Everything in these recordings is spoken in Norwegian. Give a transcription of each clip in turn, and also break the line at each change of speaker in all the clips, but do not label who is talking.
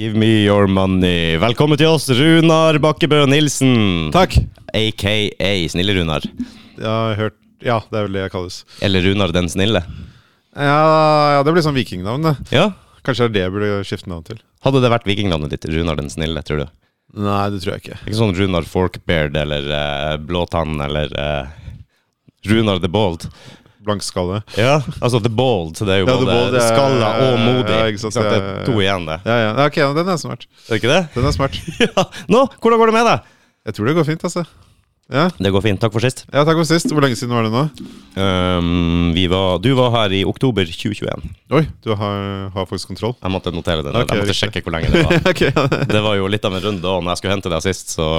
Give me your money. Velkommen til oss, Runar Bakkebø Nilsen.
Takk.
AKA Snille-Runar.
Jeg har hørt Ja, det er vel det jeg kalles.
Eller Runar den snille.
Ja, ja det blir sånn vikingnavn, det.
Ja?
Kanskje det er det jeg burde skifte navn til.
Hadde det vært vikingnavnet ditt, Runar den snille, tror du?
Nei, det tror jeg ikke.
Ikke sånn Runar Forkbeard eller eh, Blåtann eller eh, Runar the Bold.
Blankskalle.
Ja, altså The Bold. Det er jo
Ja, The
både
Bold, ja,
skalla
ja, ja,
og modig.
ja,
ikke sant? Det
ja, ja.
er to igjen, det.
Ja, ja. ja, Ok, ja, den er smart.
Er det ikke det?
Den er smart.
Ja. Nå, hvordan går det med deg?
Jeg tror det går fint, altså. Ja,
Det går fint. Takk for sist.
ja takk for sist. Hvor lenge siden var det nå?
Ehm, vi var, du var her i oktober 2021.
Oi, du har, har faktisk kontroll.
Jeg måtte notere det. nå.
Ok,
jeg måtte
riktig.
sjekke hvor lenge det var.
ok, ja, det.
Det var jo litt av en runde, og når jeg skulle hente deg sist, så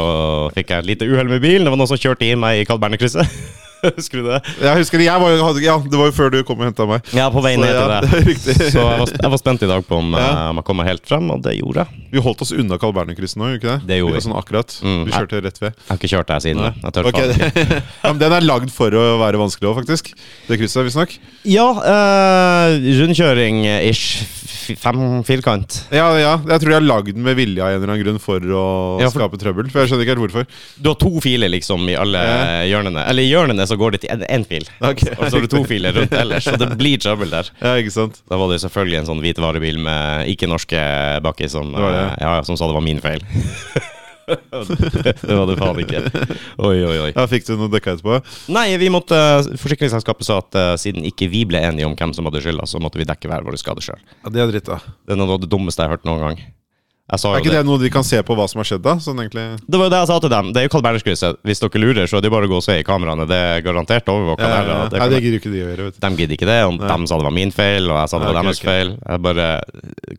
fikk jeg et lite uhell med bilen. Det var noen som kjørte i meg i Carl Berner-krysset. Husker du det?
Jeg husker det. Jeg var, jo- hadde, ja, det var jo før du kom og henta meg.
Ja, på vei
Så
ned
ja,
til
det er
deg.
riktig.
Så jeg var, jeg var spent i dag på om
Ja.
eh, man kommer helt frem, og det gjorde jeg.
Vi holdt oss unna Carl Berner-krysset nå, gjorde vi ikke det?
Det gjorde
vi.
vi.
Sånn akkurat.
Mm.
Vi kjørte rett ved.
Jeg har ikke kjørt deg siden. det. Jeg tør
Ok,
faen ikke.
ja, men den er lagd for å være vanskelig òg, faktisk. Det krysset, visstnok.
Ja, eh, rundkjøring-ish. F- Fem firkant.
Ja, ja, jeg tror jeg har lagd den med vilje av en eller annen grunn for å
Ja, for-
skape trøbbel. For jeg skjønner ikke helt hvorfor.
Du har to filer liksom i alle
Ja.
hjørnene. Eller i hjørnene så går det til én fil.
Ok.
Og så har du to filer rundt ellers, så det blir trøbbel der.
Ja, ikke sant?
Da var det jo selvfølgelig en sånn hvit varebil med ikke-norske baki som,
Det var det.
eh, Ja, ja, som sa det var min feil. det var det faen ikke. Oi, oi, oi.
Ja, Fikk du noe dekka etterpå?
Nei, vi måtte, forsikringsselskapet sa at eh, siden ikke vi ble enige om hvem som hadde skylda, så måtte vi dekke hver vår skade sjøl.
Ja, Det er dritt, da.
Det er noe av det dummeste jeg har hørt noen gang. Jeg sa
Er
jo
ikke
det.
det noe de kan se på hva som har skjedd, da? Sånn egentlig
Det var jo det jeg sa til dem. Det er jo Carl Berners-krysset. Hvis dere lurer, så er det jo bare å gå og se i kameraene. Det er garantert overvåka
ja,
der. og det
Nei,
kan-
det gidder jo ikke de å gjøre, vet du.
De gidder ikke det. Og de sa det var min feil, og jeg sa det var
Ja, ok,
deres
ok.
feil. Jeg bare,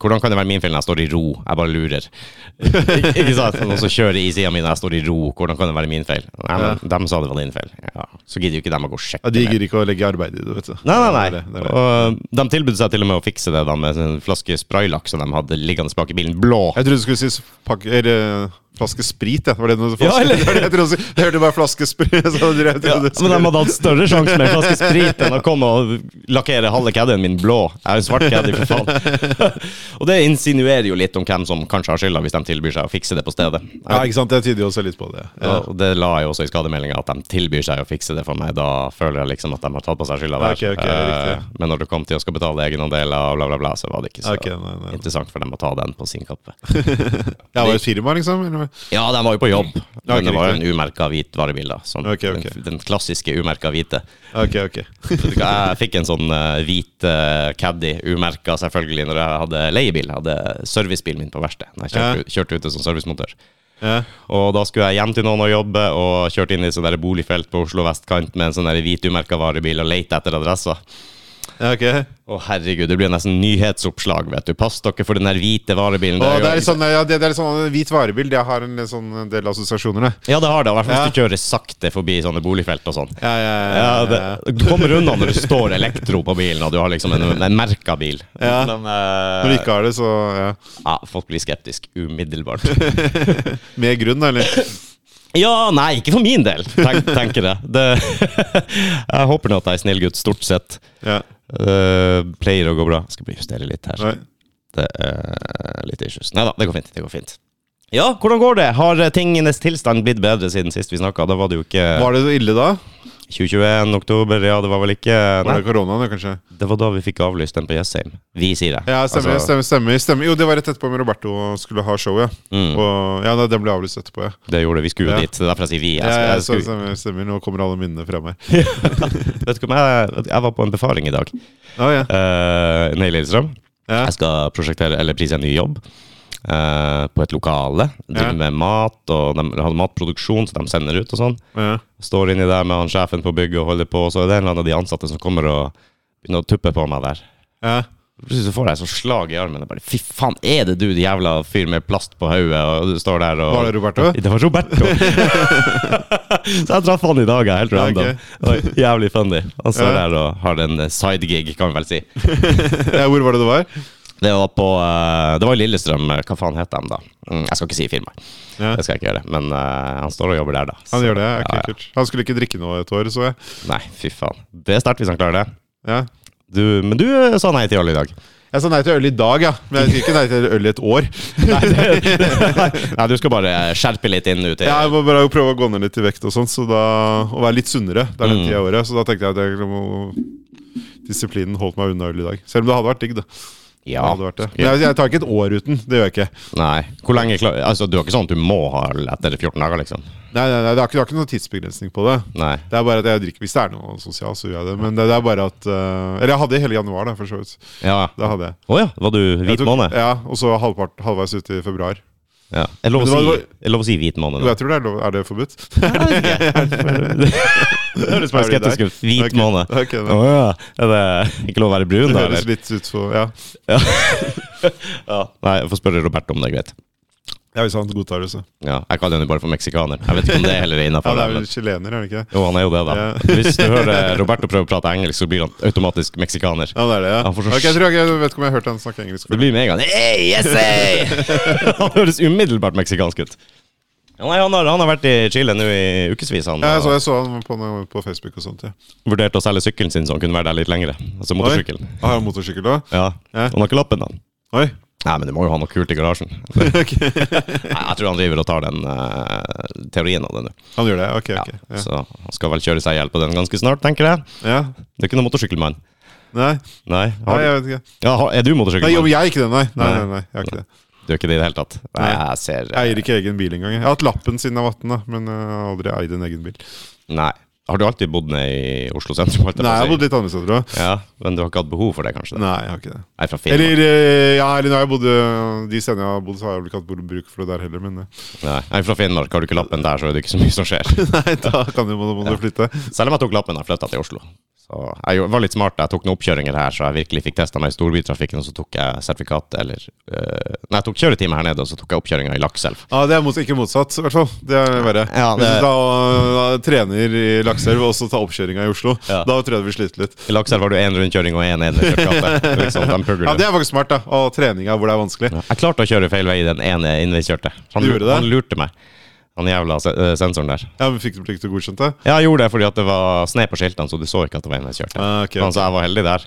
Hvordan kan det være min feil når jeg står i ro? Jeg bare lurer. Ik ikke sant? Noen som kjører i sida mi når jeg står i ro, hvordan kan det være min feil? Nei, men De sa det var din feil. Ja. Så gidder jo ikke dem å gå og sjekke.
Ja, De
mer.
gidder ikke å legge arbeid i det, vet du.
Nei, nei,
Det
nei.
er det, det er det.
Og de tilbød seg til og med å fikse det da med en flaske spraylakk som de hadde liggende bak i bilen. Blå.
Jeg trodde du skulle si s- pakke, eller, eh, flaske sprit, ja. Var det noe flaske?
Ja, eller-
det var det jeg, trodde, du skulle- jeg hørte bare flaske sprit. Så jeg trodde
Ja,
du
men de
skulle-
hadde hatt større sjanse med en flaske sprit enn å komme og lakkere halve caddien min blå. Jeg er en svart caddy, for faen. Og det insinuerer jo litt om hvem som kanskje har skylda, hvis de tilbyr seg å fikse det på stedet.
ja, ikke sant? Jeg tyder jo også litt på det. Ja.
Og det la jeg jo også i skademeldinga, at de tilbyr seg å fikse det for meg. Da føler jeg liksom at de har tatt på seg skylda
Ja,
der.
ok, ok, riktig.
Eh, Men når det kom til å skal betale egenandeler og bla, bla, bla, så var det ikke så
Ok, nei, nei.
interessant for dem å ta den på sin kappe.
Ja, var det et firma, liksom? Eller?
Ja, de var jo på jobb,
Ja, ok,
men det var jo en
riktig.
umerka hvit varebil, da. Sånn,
Ok, ok.
Den, den klassiske umerka hvite.
Ok, ok.
Vet du hva, Jeg fikk en sånn eh, hvit eh, Caddy, umerka selvfølgelig, når jeg hadde leiebil. Jeg hadde servicebilen min på verkstedet. når Jeg kjørte, kjørte ute som servicemontør.
Ja.
Og da skulle jeg hjem til noen og jobbe, og kjørte inn i sånn der boligfelt på Oslo vestkant med en sånn der hvit umerka varebil og lette etter adressa.
Ja, ok.
Å herregud, det blir nesten nyhetsoppslag, vet du. Pass dere for den der hvite varebilen.
Og det
jo-
er litt sånn, ja, det, det er litt sånn hvit varebil. Det har en litt sånn del assosiasjoner, det.
Ja, det har det. I hvert fall
Ja.
hvis du kjører sakte forbi sånne boligfelt og sånn.
Ja, ja, ja,
Ja,
ja,
det,
ja.
du kommer unna når det står elektro på bilen, og du har liksom en, en merka bil.
Ja.
Men,
Når du
eh,
ikke har det, så ja.
ja, folk blir skeptiske umiddelbart.
Med grunn, da, eller?
Ja, nei, ikke for min del, tenk, tenker jeg. Det, jeg håper nå at jeg er snill gutt, stort sett.
Ja.
Eh, pleier å gå bra. Skal bare justere litt her.
Nei.
Det er litt issues. Nei da, det går fint. Det går fint. Ja, hvordan går det? Har eh, tingenes tilstand blitt bedre siden sist vi snakka? Da var det jo ikke
Var det så ille da?
2021, oktober, ja, det var vel ikke Nei,
Var det koronaen, det, kanskje?
det var da vi fikk avlyst den på Jessheim. Vi sier det.
Ja, stemmer,
Altså,
stemmer, stemmer, stemmer. Jo, det var rett etterpå med Roberto skulle ha show, ja.
Mm.
Og, ja, nei, den ble avlyst etterpå, ja.
Det gjorde det. Vi skulle
Ja.
dit. Det er derfor jeg sier vi. Jeg,
Ja, ja, så
skulle, jeg, skulle,
stemmer, stemmer. Nå kommer alle minnene frem her.
vet du hva, jeg, jeg var på en befaring i dag.
Ja, ja.
Uh, Nede i Lillestrøm.
Ja.
Jeg skal prosjektere eller prise en ny jobb eh, på et lokale. Driver
Ja.
med mat, og de har matproduksjon, så de sender ut og sånn.
ja.
Står inni der med han sjefen på bygget og holder på, og så er det en eller annen av de ansatte som kommer og begynner å tuppe på meg der.
ja.
Plutselig så får jeg et sånt slag i armen. Jeg bare, Fy faen, er det du, de jævla fyr med plast på hodet? Og du står der og
Var det Roberto?
Det var Roberto! så jeg traff han i dag, jeg, helt
Ja,
random.
ok.
Og Jævlig funny. Han står
Ja.
der og har en sidegig, kan vi vel si.
ja hvor var det det var?
Det var på eh, Det var i Lillestrøm. eh, Hva faen het de, da? Mm, jeg skal ikke si firmaet.
Ja.
Det skal jeg ikke gjøre. Men eh, han står og jobber der, da.
Han gjør det, ja.
Ja,
ok, kult. Han skulle ikke drikke noe et år, så jeg.
Nei, fy faen. Det er sterkt hvis han klarer det.
Ja.
Du, men du eh, sa nei til Jarl i dag.
Jeg sa nei til øl i dag, ja. Men jeg sier ikke nei til øl i et år.
Nei, det, nei, nei, du skal bare skjerpe litt inn nå til
Jeg må bare prøve å gå ned litt i vekt og sånn, så da, og være litt sunnere. Det
Mm.
er den tida av året, så da tenkte jeg at jeg må Disiplinen holdt meg unna øl i dag. Selv om det hadde vært digg, da. Det
Ja.
hadde vært det. Men jeg, jeg tar ikke et år uten. Det gjør jeg ikke.
Nei. Hvor lenge klar, altså, Du er ikke sånn at du må ha øl etter 14 dager, liksom?
Nei, nei, nei, det er ikke, det er ikke noen tidsbegrensning på det.
Nei.
Det er bare at jeg drikker Hvis det er noe sosialt, så gjør jeg det. Men det, det er bare at eh, Eller jeg hadde i hele januar, da, for så vidt.
Ja.
Det hadde jeg.
Å ja, var du
jeg
hvit
tok-
måned?
Ja, Og så halvpart, halvveis ute i februar.
Ja. Jeg lov å
Men det
si,
var-
jeg lov å si hvit måned.
Jo,
nå.
Jeg tror det er lov. Er det forbudt?
Det høres bare
Er det
skeptisk
der?
ut. Hvit
Ok,
måned.
ok,
Å
da.
ja. Er det ikke lov å være brun,
Det
da?
høres
Eller?
litt ut for Ja,
Ja. Nei, jeg får spørre Roberto om det er greit.
ja hvis han godtar det, så.
Ja, jeg kaller henne bare for meksikaner. Jeg vet ikke om det heller er
Ja,
innafor.
det er vel chilener, er det ikke det?
jo, han er jo det, da. Hvis du hører Roberto prøve å prate engelsk, så blir han automatisk meksikaner.
Ja, det er det, ja.
Han får så
Ok, jeg tror ikke jeg vet ikke om jeg har hørt han snakke engelsk.
Det blir med en gang hey, yes, hey! Han høres umiddelbart meksikansk ut. Ja, nei, han, har, han har vært i Chile nå i ukevis. Han
Ja, jeg, så,
og
jeg så han på, noe- på Facebook og sånt. Ja.
vurderte å selge sykkelen sin så han kunne være der litt lengre. Altså motorsykkelen.
Oi, Har han motorsykkel da?
Ja.
Ja.
Han har ikke lappen, da.
Oi.
Nei, men du må jo ha noe kult i garasjen. Nei, jeg tror han driver og tar den eh, teorien av det nå.
Han gjør det? Ok, ok.
Ja, Så han skal vel kjøre seg i hjel på den ganske snart, tenker jeg.
Ja. ja.
Det er ikke noen motorsykkelmann.
Nei.
Nei.
nei,
Har du?
jeg vet ikke.
Ja, har- er du
Nei, jo,
motorsykkelmann?
men jeg er ikke det, nei. Nei, nei, nei, jeg er ikke det.
Du er ikke det i det hele tatt? Nei,
Nei.
jeg ser eh,
Jeg eier ikke egen bil engang. Jeg har hatt lappen siden jeg var 18, da, men eh, jeg har aldri eid en egen bil.
eh, Nei. Har du alltid bodd nede i Oslo sentrum? holdt jeg
Nei,
på å
jeg
si?
har bodd litt andre steder òg.
Ja, men du har ikke hatt behov for det, kanskje? Da?
Nei, jeg har ikke det.
Nei, fra Finnmark.
Eller, eh, ja, eller når jeg bodde de stedene jeg har bodd, så har jeg vel ikke hatt bord- bruk for det der heller, men eh,
Nei, Nei, fra Finnmark. Har du ikke lappen der, så er det ikke så mye som skjer.
Nei, da kan du, må, du- må du flytte.
Selv om jeg tok lappen da jeg flytta til Oslo. Så jeg jo- var litt smart. Jeg tok noen oppkjøringer her, så jeg virkelig fikk testa meg i storbytrafikken. Og så tok jeg sertifikatet, eller eh, Nei, jeg tok kjøretime her nede, og så tok jeg oppkjøringa i Lakselv.
Ja, Det er mot, ikke motsatt, i hvert fall. Det er verre.
Ja,
Hvis du
det-
da, eh, trener i Lakselv og så tar oppkjøringa i Oslo,
Ja.
da tror jeg du vil slite litt.
I Lakselv har du én rundkjøring og én enekjørt Liksom, de pugler
Ja,
det.
Det er faktisk smart, da. Og treninga hvor det er vanskelig.
Jeg klarte å kjøre feil vei i den ene innveiskjørte. Han,
Du gjorde det?
han lurte meg. Han jævla se- eh, sensoren der.
Ja, men Fikk du plikt til å godkjent det?
Ja, jeg gjorde det fordi at det var sne på skiltene, så du så ikke at det var innveiskjørte.
Ah, ok,
Men
ok.
Så jeg var heldig der.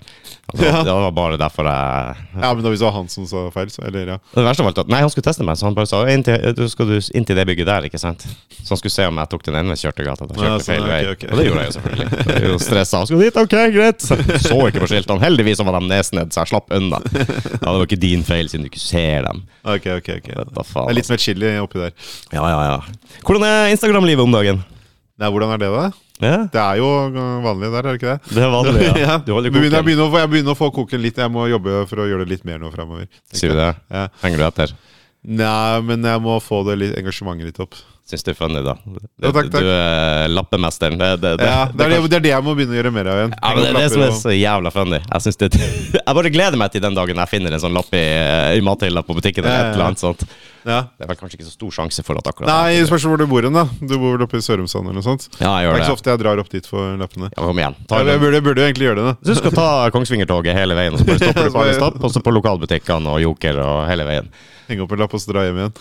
Altså,
Ja.
Det var bare derfor jeg
Ja, men da Hvis det var han som sa feil, så Eller ja.
Det verste av alt at Nei, han skulle teste meg, så han bare sa inn til, du skal du inn til det bygget der, ikke sant? Så han skulle se om jeg tok den ene kjørte gata. Da kjørte
Ja,
jeg feil
sånn,
vei.
ok, ok.
Og det gjorde jeg jo selvfølgelig. Jeg er jo stressa. Skal du dit? Ok, greit. Så, så ikke på skiltene. Heldigvis så var de nesnedd, så jeg slapp unna. Ja, Det var ikke din feil, siden du ikke ser dem.
Ah, Ok, ok, ok.
Vet da
Det er
faen.
litt mer chili oppi der.
Ja, ja, ja. Hvordan er Instagram-livet om dagen?
Nei, Hvordan er det, da?
Ja,
Det er jo øh, vanlig der, er det ikke det?
det er vanlig, ja.
Ja.
Du holder
Men jeg,
koken.
begynner å, få- jeg begynner å få koken litt. Jeg må jobbe for å gjøre det litt mer nå framover.
Sier du det?
Ja.
Henger du etter?
Nei, men jeg må få det litt, engasjementet litt opp.
Syns det er funny, da.
Ja, takk, takk.
Du er lappemesteren. Det, det, det,
Ja, det, er det, det er det jeg må begynne å gjøre mer av igjen.
Ja, men det er det som er så jævla funny. Jeg, synes det, jeg bare gleder meg til den dagen jeg finner en sånn lapp i, i mathylla på butikken.
Ja, ja,
eller
ja.
et eller annet sånt. Det
ja.
er vel kanskje ikke så stor sjanse for at akkurat
Nei, spørs hvor du bor hen, da. Du bor vel oppe i Sørumsand eller noe sånt?
Ja,
Det er
jeg gjør
ikke
det.
så ofte jeg drar opp dit for lappene.
Ja, kom igjen. Ta
Ja, jeg
den.
burde, burde jo egentlig gjøre det, da.
Så du skal ta Kongsvingertoget hele veien, og så bare stopper
Ja, så
du på
bare-
alle stopp, og så på lokalbutikkene og Joker og hele veien.
Henge opp en lapp og så dra hjem igjen.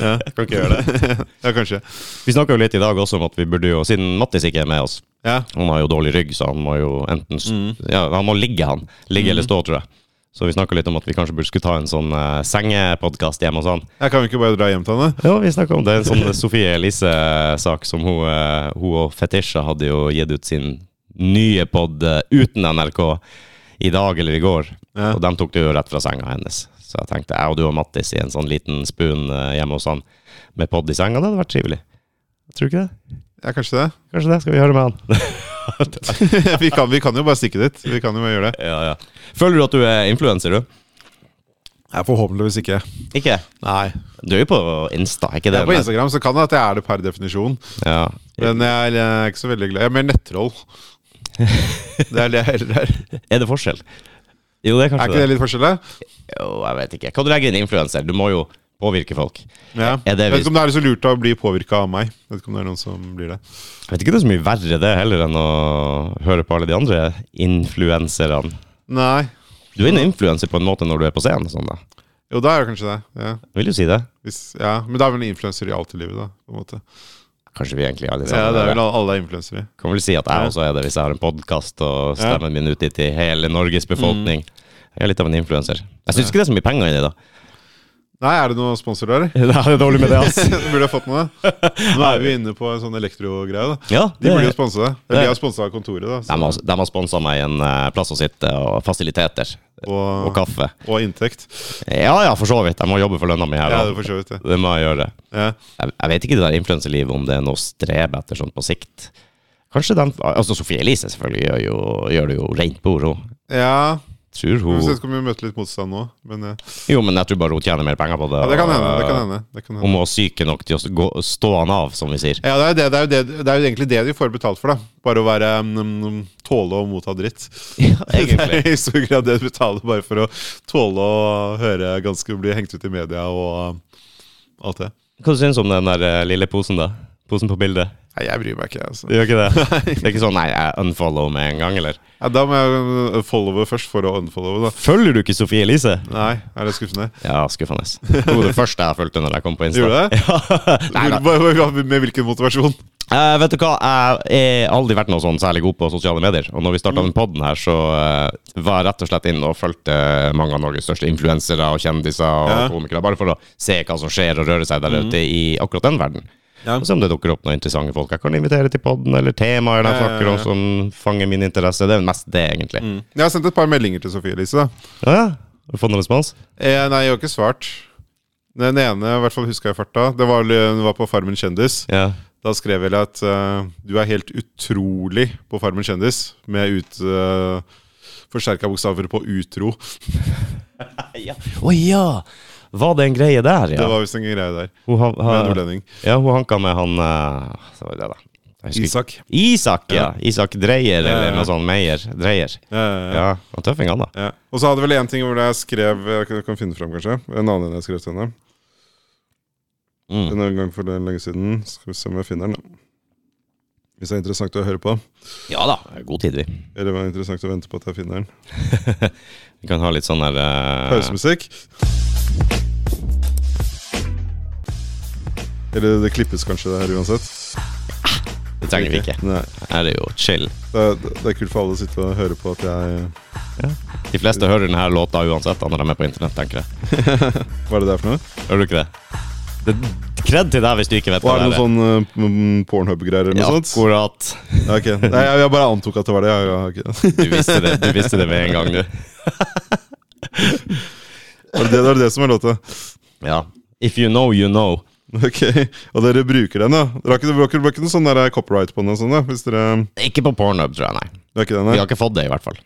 Ja,
Jeg kan ikke gjøre det.
ja kanskje.
Vi snakka jo litt i dag også om at vi burde jo, siden Mattis ikke er med oss
Ja.
Han har jo dårlig rygg, så han må jo enten s-
Mm.
Ja, han må ligge, han. Ligge eller stå, tror jeg. Så vi snakka litt om at vi kanskje burde skulle ta en sånn uh, sengepodkast hjemme hos han.
Jeg kan jo ikke bare dra hjem til han, da.
Ja, vi snakket om det. En sånn Sofie Elise-sak som hun, eh, hun og Fetisha hadde jo gitt ut sin nye pod eh, uten NRK i dag eller i går.
Ja.
Og de tok det jo rett fra senga hennes. Så jeg tenkte jeg og du og Mattis i en sånn liten spoon eh, hjemme hos han med pod i senga, det hadde vært trivelig. Tror du ikke det?
Ja, kanskje det.
Kanskje det? Skal vi høre med han?
vi, kan, vi kan jo bare stikke dit. Vi kan jo bare gjøre det.
ja, ja. Føler du at du er influenser, du?
Jeg forhåpentligvis ikke.
Ikke?
Nei.
Du er jo på Insta, er ikke
Jeg
det?
er på Instagram så kan det at jeg er det per definisjon.
Ja.
Men jeg er, jeg er ikke så veldig glad Jeg er mer nettroll. Det er det jeg heller er.
Er det forskjell? Jo, det er
Er
kanskje
ikke det litt forskjell, da?
Jo, jeg vet ikke. Hva du legger inn i influenser? Du må jo påvirke folk.
Ja.
Er det
Jeg vet ikke om det er så lurt å bli påvirka av meg. Jeg vet ikke om det er noen som blir det.
Jeg vet ikke det er så mye verre det heller enn å høre på alle de andre influenserne.
Nei.
Du er en influenser på en måte når du er på scenen. sånn da.
Jo, da er det kanskje det. Ja.
Vil du si det?
Hvis, ja. Men det er vel en influenser i alt i livet, da. På en måte.
kanskje vi egentlig alle
Ja,
sammen
det er
er det.
vel alle influensere.
Kan vel si at
Ja.
jeg også er det, hvis jeg har en podkast og stemmen min ut dit til hele Norges
Mm.
befolkning. Jeg er litt av en influenser. Jeg syns ikke det er så mye penger i det, da.
Nei, er det noen sponsor der? eller?
Det er dårlig med det, ass.
burde jeg fått noe? Nå er vi inne på en sånn elektrogreie. da
Ja,
De
det,
burde
de,
jo sponse deg.
det-
Eller de har sponsa kontoret, da. Så,
har, de har sponsa meg en eh, plass å sitte og fasiliteter og
og,
kaffe.
og inntekt.
Ja ja, for så vidt. Jeg må jobbe for lønna mi her.
Ja, det
da.
er for så vidt det.
det må jeg gjøre.
Ja.
Jeg, jeg vet ikke det der influenserlivet, om det er noe å strebe etter sånn på sikt. Kanskje de Altså, Sofie Elise selvfølgelig gjør, jo, gjør det jo rent bord, hun.
ja.
Tror
Vi får se,
hun
skal vi møte litt motstand nå. Men eh,
Jo, men jeg tror bare hun tjener mer penger på det.
ja, det kan
og,
hende. Det kan hende, det kan hende.
Hun må være syke nok til å gå, stå han av, som vi sier.
Ja, det er, jo det, det, er jo det, det er jo egentlig det de får betalt for, da. Bare å være mm, tåle å motta dritt. Det
egentlig.
er i stor grad det du betaler bare for å tåle å høre ganske bli hengt ut i media og uh, alt det.
Hva syns du om den der eh, lille posen, da? Posen på bildet?
Nei, jeg bryr meg ikke, jeg. Altså.
Det gjør ikke det? Det er ikke sånn nei, jeg unfollow med en gang, eller?
Ja, da må jeg uh, followe først for å unfollowe, da.
Følger du ikke Sofie Elise?
Nei, er det skuffende?
Ja, skuffende. Det var det første jeg fulgte når jeg kom på Insta.
Gjorde du det?
Ja. Nei, da.
Hvor- hvor- hvor- Med hvilken motivasjon?
Eh, vet du hva, jeg har aldri vært noe sånn særlig god på sosiale medier. Og når vi
Mm.
starta den podden her, så eh, var jeg rett og slett inn og fulgte eh, mange av Norges største influensere og kjendiser og
Ja. Mm.
komikere, bare for å se hva som skjer og røre seg der ute i akkurat den verden.
Ja.
Og se om det dukker opp noen interessante folk jeg kan invitere til podden, eller temaer de
Ja, Mm. ja,
snakker om
ja.
som fanger min interesse. Det er mest det, egentlig.
Jeg har sendt et par meldinger til Sofie Elise, da.
Ja, ja. Har du fått noen respons?
Eh, nei, jeg har ikke svart. Den ene i hvert fall huska jeg i farta. Det var, hun var på Farmen kjendis.
Ja.
Da skrev jeg at eh, du er helt utrolig på Farmen kjendis, med ut, eh, forsterka bokstaver på utro.
Å ja. Var det en greie der,
Det
ja?
var visst en greie der.
Hun, ha,
Med en
ha,
nordlending.
ja, hun hanka med han eh, Så var det det, da. Jeg husker ikke-
Isak.
Isak, ja. Isak Dreyer,
Ja, ja, ja.
eller noe sånt. Meyer. Dreyer.
Ja, ja, ja.
Ja, han tøffing, han, da.
Ja. Og så hadde jeg vel én ting hvor jeg skrev Jeg kan, kan finne fram, kanskje. En annen enn jeg skrev til henne.
Mm.
En annen gang for lenge siden. Skal vi se om jeg finner den. da. Hvis det er interessant å høre på.
Ja da, det er god tid, vi.
Eller det var interessant å vente på at jeg finner den.
Vi kan ha litt sånn der eh,
Pausemusikk. Eller det klippes kanskje det her uansett.
Det trenger vi ikke.
Nei.
Her er det jo chill.
Det er, det er kult for alle å sitte og høre på at jeg
De fleste hører denne låta uansett da, når de er på internett, tenker jeg.
Hva er det der for noe?
Hører du ikke det? det Kred til deg hvis du ikke vet
Og er det
det
noe sånn eh, mm, Pornhub-greier eller
Ja,
noe sånt?
akkurat.
Ja, ok. Nei, jeg, jeg bare antok at det var det. Jeg, jeg, har ikke-
Du visste det, du visste det med en gang, du.
Var det, det var det som var låta.
Ja. If you know, you know.
Ok, Og dere bruker den, da? Dere har ikke, dere har ikke noe sånn der copyright på den? og sånn da, hvis dere...
Ikke på Pornhub, tror jeg, nei.
Det er ikke den
Vi
her?
har ikke fått det, i hvert fall.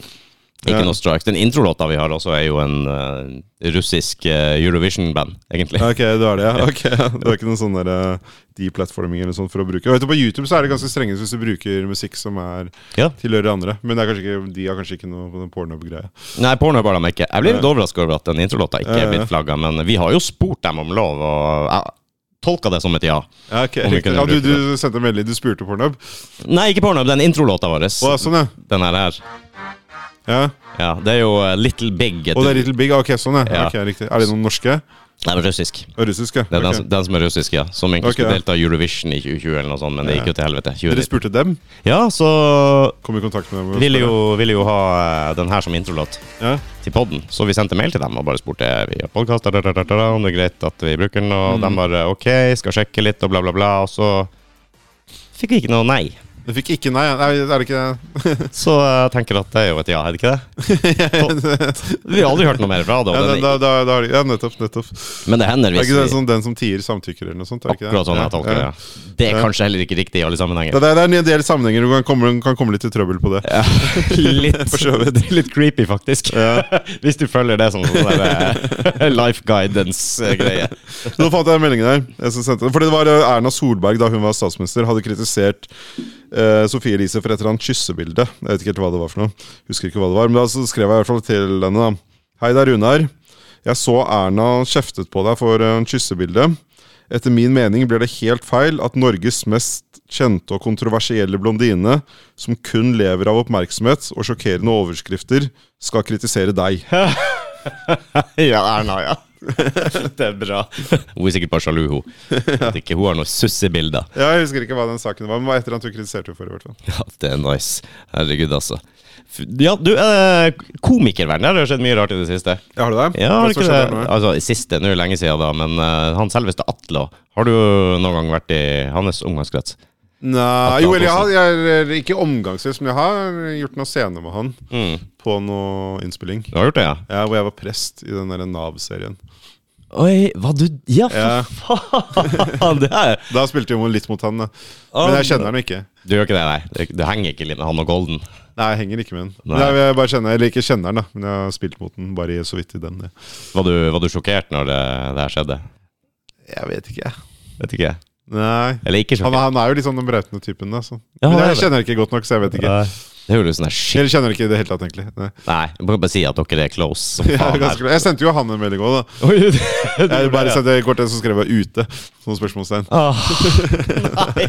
Ikke
Ja.
noe strikes. Den introlåta vi har også, er jo en eh, russisk eh, Eurovision-band, egentlig.
Ok, det var det, ja. Ok, Det var ikke noen sånn der eh, deplatforming eller sånn for å bruke Og vet du, På YouTube så er det ganske strenge hvis du bruker musikk som er
Ja.
tilhører andre. Men det er kanskje ikke, de har kanskje ikke noe på den pornhub-greia.
Nei, porno har de ikke. Jeg blir litt
Nei.
overraska over at den introlåta ikke
Ja, ja.
er blitt flagga, men vi har jo spurt dem om lov, og jeg tolka det som et ja.
Ja, ok,
Om vi
riktig. ja,
kunne
du,
bruke
du sendte en melding, du spurte pornhub?
Nei, ikke porno, den introlåta vår.
Å, sånn, ja.
Den her her.
ja.
Ja, det er jo eh, Little Big.
Og det er Little Big? ah, Ok, sånn, ja.
Ja.
Ok, riktig. Er det noen norske?
Nei, men russisk.
Og russiske?
Det er den,
Ok.
som- den som er russisk, ja. Som egentlig
Ok, ja.
skulle delta i Eurovision i 2020, eller noe sånt, men det
Ja.
gikk jo til helvete.
Dere
2019.
spurte dem?
Ja, så
Kom i kontakt med dem? og
ville
spurte.
jo, ville jo ha eh, den her som introlåt.
Ja.
til podden. Så vi sendte mail til dem og bare spurte via podcast da, da, da, da, da, om det er greit at vi bruker den.
Mm.
Og de bare ok, skal sjekke litt og bla, bla, bla. Og så fikk vi ikke noe nei.
Det fikk ikke nei. nei er det ikke
Så jeg tenker at det er jo et ja, er det ikke det? Vi har aldri hørt noe mer fra det.
ja, da,
Og den,
da, da, da, har de- ja, nettopp. nettopp.
men det hender
Er
hvis
ikke det
vi
sånn den som tier, samtykker eller noe sånt? Er det ikke
Akkurat sånn jeg
det?
tolker det.
Ja, ja.
ja. Det er
Ja.
kanskje heller ikke riktig i alle sammenhenger.
Det, det, det er en del sammenhenger du kan komme, kan komme litt i trøbbel på det.
Ja, litt, litt creepy, faktisk. Hvis du følger det som sånn der, eh, life guidance-greie.
Så Nå fant jeg meldingen her. Jeg som sendte den. Fordi det var eh, Erna Solberg da hun var statsminister, hadde kritisert eh, Sofie Elise for et eller annet kyssebilde. Jeg vet ikke helt hva det var for noe. Husker ikke hva det var, Men da så skrev jeg i hvert fall til henne da. Hei, det er Runar. Jeg så Erna kjeftet på deg for eh, kyssebilde. Etter min mening blir det helt feil at Norges mest kjente og kontroversielle blondine, som kun lever av oppmerksomhet og sjokkerende overskrifter, skal kritisere deg.
Ja, Erna, ja. Det er bra. Hun er sikkert bare sjalu, hun. At ikke hun har noen sussebilder.
Ja, jeg husker ikke hva den saken var, men det var et eller annet du kritiserte henne for. i hvert fall
Ja, det er nice. Herregud, altså. F- Ja, du, eh, komikerverden. Der har det skjedd mye rart i det siste.
Ja, Har du det?
Ja, har
Hva
ikke
som
det?
skjedde her nå?
Altså, siste, nå er det lenge siden da, men eh, han selveste Atle, har du noen gang vært i hans omgangskrets?
Nei, jo, eller jeg har jeg, er ikke omgangsvis, men jeg har gjort noe scene med han
Mm.
på noe innspilling.
Du har gjort det, ja?
Ja, Hvor jeg var prest i den der Nav-serien.
Oi, hva du Ja,
Ja.
for faen! Det er
Da spilte jo hun litt mot han, da. Men jeg kjenner han jo ikke.
Du gjør ikke det, nei? Det, det henger ikke litt med han og Golden?
Nei, jeg henger ikke med han.
Nei.
Nei. jeg bare kjenner, eller ikke kjenner han, da. Men jeg har spilt mot han bare i- så vidt i den. ja.
Var du, var du sjokkert når det, det her skjedde?
Jeg vet ikke, jeg.
Vet ikke.
Nei.
Eller ikke
Han,
sjokkert.
han er jo litt sånn den brautende typen, da. Så.
Ja,
men
han er
jeg
det.
kjenner ikke godt nok, så jeg vet ikke.
Nei. Det høres ut som en shit
Eller kjenner ikke i det hele tatt, egentlig. Nei.
Nei, jeg må bare si at dere er close som
Jeg, er
faen
ganske,
her.
glad. jeg sendte jo han en melding òg, da.
Oi, du- du
Jeg
gjorde
bare sånn-
det.
sendte jeg kort til en som skrev 'ute' som spørsmålstegn.
Ah, nei.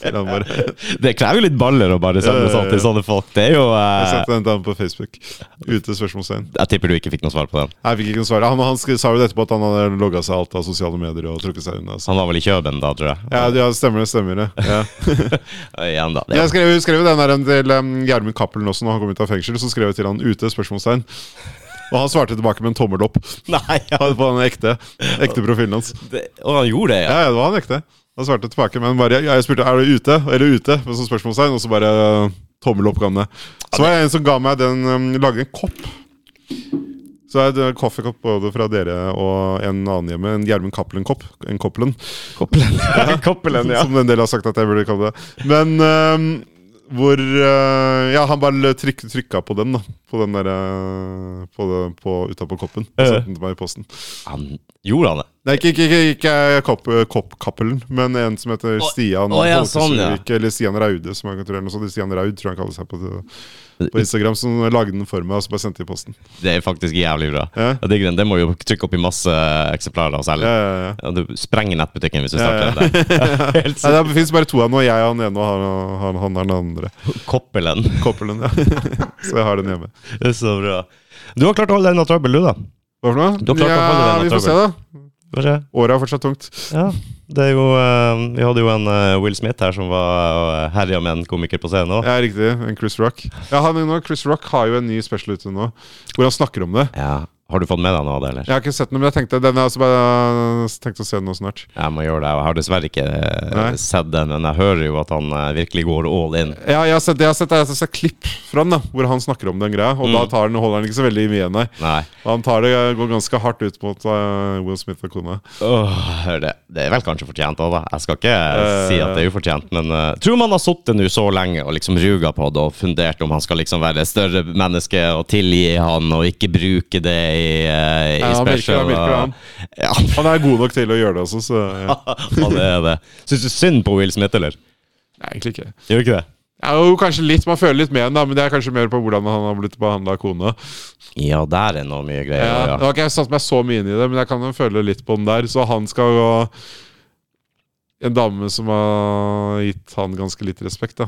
Til han bare.
Det krever jo litt baller å bare
Ja,
sende
ja, ja.
sånt til sånne folk. Det er jo
Jeg
eh,
sendte den til han på Facebook. 'Ute?' spørsmålstegn.
Jeg tipper du ikke fikk noe svar på den.
Nei, Jeg fikk ikke noe svar. Han, han skrev, sa jo etterpå at han hadde logga seg alt av sosiale medier og trukket seg unna. Så.
Han var vel i Kjøben da, tror jeg.
Ja, ja, stemmer det, stemmer det. Ja.
Igjen, da. Det
Jeg skrev, skrev den der en til um, Gjermund Cappelen også når han kom ut av fengsel. Så skrev jeg til han 'ute?' spørsmålstegn. Og han svarte tilbake med en tommel opp.
Nei, ja,
Han- På den ekte, ekte profilen hans.
det... Og han gjorde det, ja.
Ja, ja, det var han ekte. Han svarte tilbake, men bare, ja, jeg spurte er du ute eller ute, med sånn spørsmålstegn, og så bare øh, tommel opp. Gamle. Så var det en som ga meg den, um, lagde en kopp. Så er det en kaffekopp både fra dere og en annen hjemme, en Gjermund Cappelen-kopp. En Koppelen,
Koppelen. Koppelen, ja.
som en del har sagt at jeg burde kalle det. Men um, hvor øh, Ja, han bare tryk, trykka på den, da. På den derre på, det- på, Utapå koppen. Og sendte den til meg i posten.
Han gjorde han det.
Nei, ikke, ikke, ikke, ikke kopp, Koppkappelen, men en som heter
Å,
Stian
å, ja,
Folkesvik,
sånn, ja.
Eller Stian Raude, som han kan tro, eller noe sånt. Stian Raud, tror jeg han kaller seg på, på Instagram. Som lagde den for meg, og så bare sendte i posten.
Det er faktisk jævlig bra.
Ja.
Jeg digger den. Det må jo trykke opp i masse eh, eksemplarer og
Ja,
selge.
ja, ja.
Ja, Du sprenger nettbutikken hvis du
Ja, ja.
starter den der. Helt
Nei,
sikkert.
det fins bare to av nå, jeg og han ene, og han, han, han er den andre.
Koppelen.
Koppelen, ja. Så jeg har den hjemme.
Det er så bra. Du har klart å holde deg unna trøbbel, du, da.
Hva for
Du har
noe?
klart å holde
Ja,
den
vi får se, da.
Bare
Året er fortsatt tungt.
Ja, det er jo eh, Vi hadde jo en eh, Will Smith her som var uh, herja med en komiker på scenen òg.
Ja, riktig. En Chris Rock. Ja, han, nå, Chris Rock har jo en ny special ute nå, hvor han snakker om det.
Ja. Har du fått med deg noe av det, eller?
Jeg har ikke sett den, men jeg tenkte, den er altså bare, tenkte å se den nå snart.
Jeg må gjøre det. Jeg har dessverre ikke eh,
Nei.
sett den, men jeg hører jo at han eh, virkelig går all in.
Ja, jeg har sett, jeg har sett, jeg har sett klipp fra den, da, hvor han snakker om den greia. Og da tar han, holder han ikke så veldig mye igjen. Mm. Nei.
Nei.
Han tar det, går ganske hardt ut mot eh, Will Smith og kona.
Åh, hør det. det er vel kanskje fortjent òg, da. Jeg skal ikke
Eh.
si at det er ufortjent, men eh, tror man har sittet nå så lenge og liksom ruga på det og fundert om han skal liksom være et større menneske og tilgi han og ikke bruke det i, uh, i
Ja, han virker-
special.
han virker han.
og- Ja, han
Han er god nok til å gjøre det også, så ja.
Ja, det er det. Syns du synd på Will Smith, eller?
Nei, egentlig ikke.
Gjør du ikke det?
Ja, jo, kanskje litt, Man føler litt med den, da, men det er kanskje mer på hvordan han har blitt behandla av kona.
Ja, der er noe mye greier.
Ja,
Ja,
Nå har ikke jeg satt meg så mye inn i det, men jeg kan jo føle litt på den der. Så han skal jo En dame som har gitt han ganske litt respekt, da.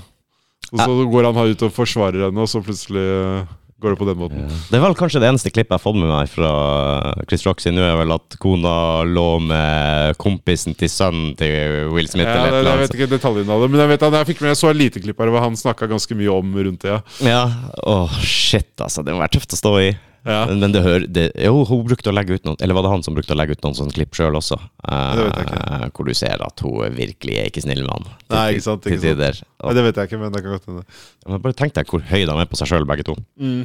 Og så går han ut og forsvarer henne, og så plutselig eh, går det på den måten.
Det er vel kanskje det eneste klippet jeg har fått med meg fra eh, Chris Rock sin nå, er vel at kona lå med kompisen til sønnen til Will Smith.
Ja, det,
eller et
jeg
eller
vet
annet.
ikke detaljene av det, men jeg vet at jeg fikk med jeg så en liten klipp her hvor han snakka ganske mye om rundt det. ja.
Ja, åh, shit, altså. Det må være tøft å stå i.
Ja.
Men, men det hører det, Jo, hun brukte å legge ut noen Eller var det han som brukte å legge ut noen sånne klipp sjøl også? Eh,
Det vet jeg
Hvor du ser at hun virkelig er ikke snill med han. til-
Nei, ikke sant,
til
ikke sant.
tider. Og
Nei, det vet jeg ikke, men det kan godt hende.
Men bare tenk deg hvor høy de er på seg sjøl, begge to.
Mm.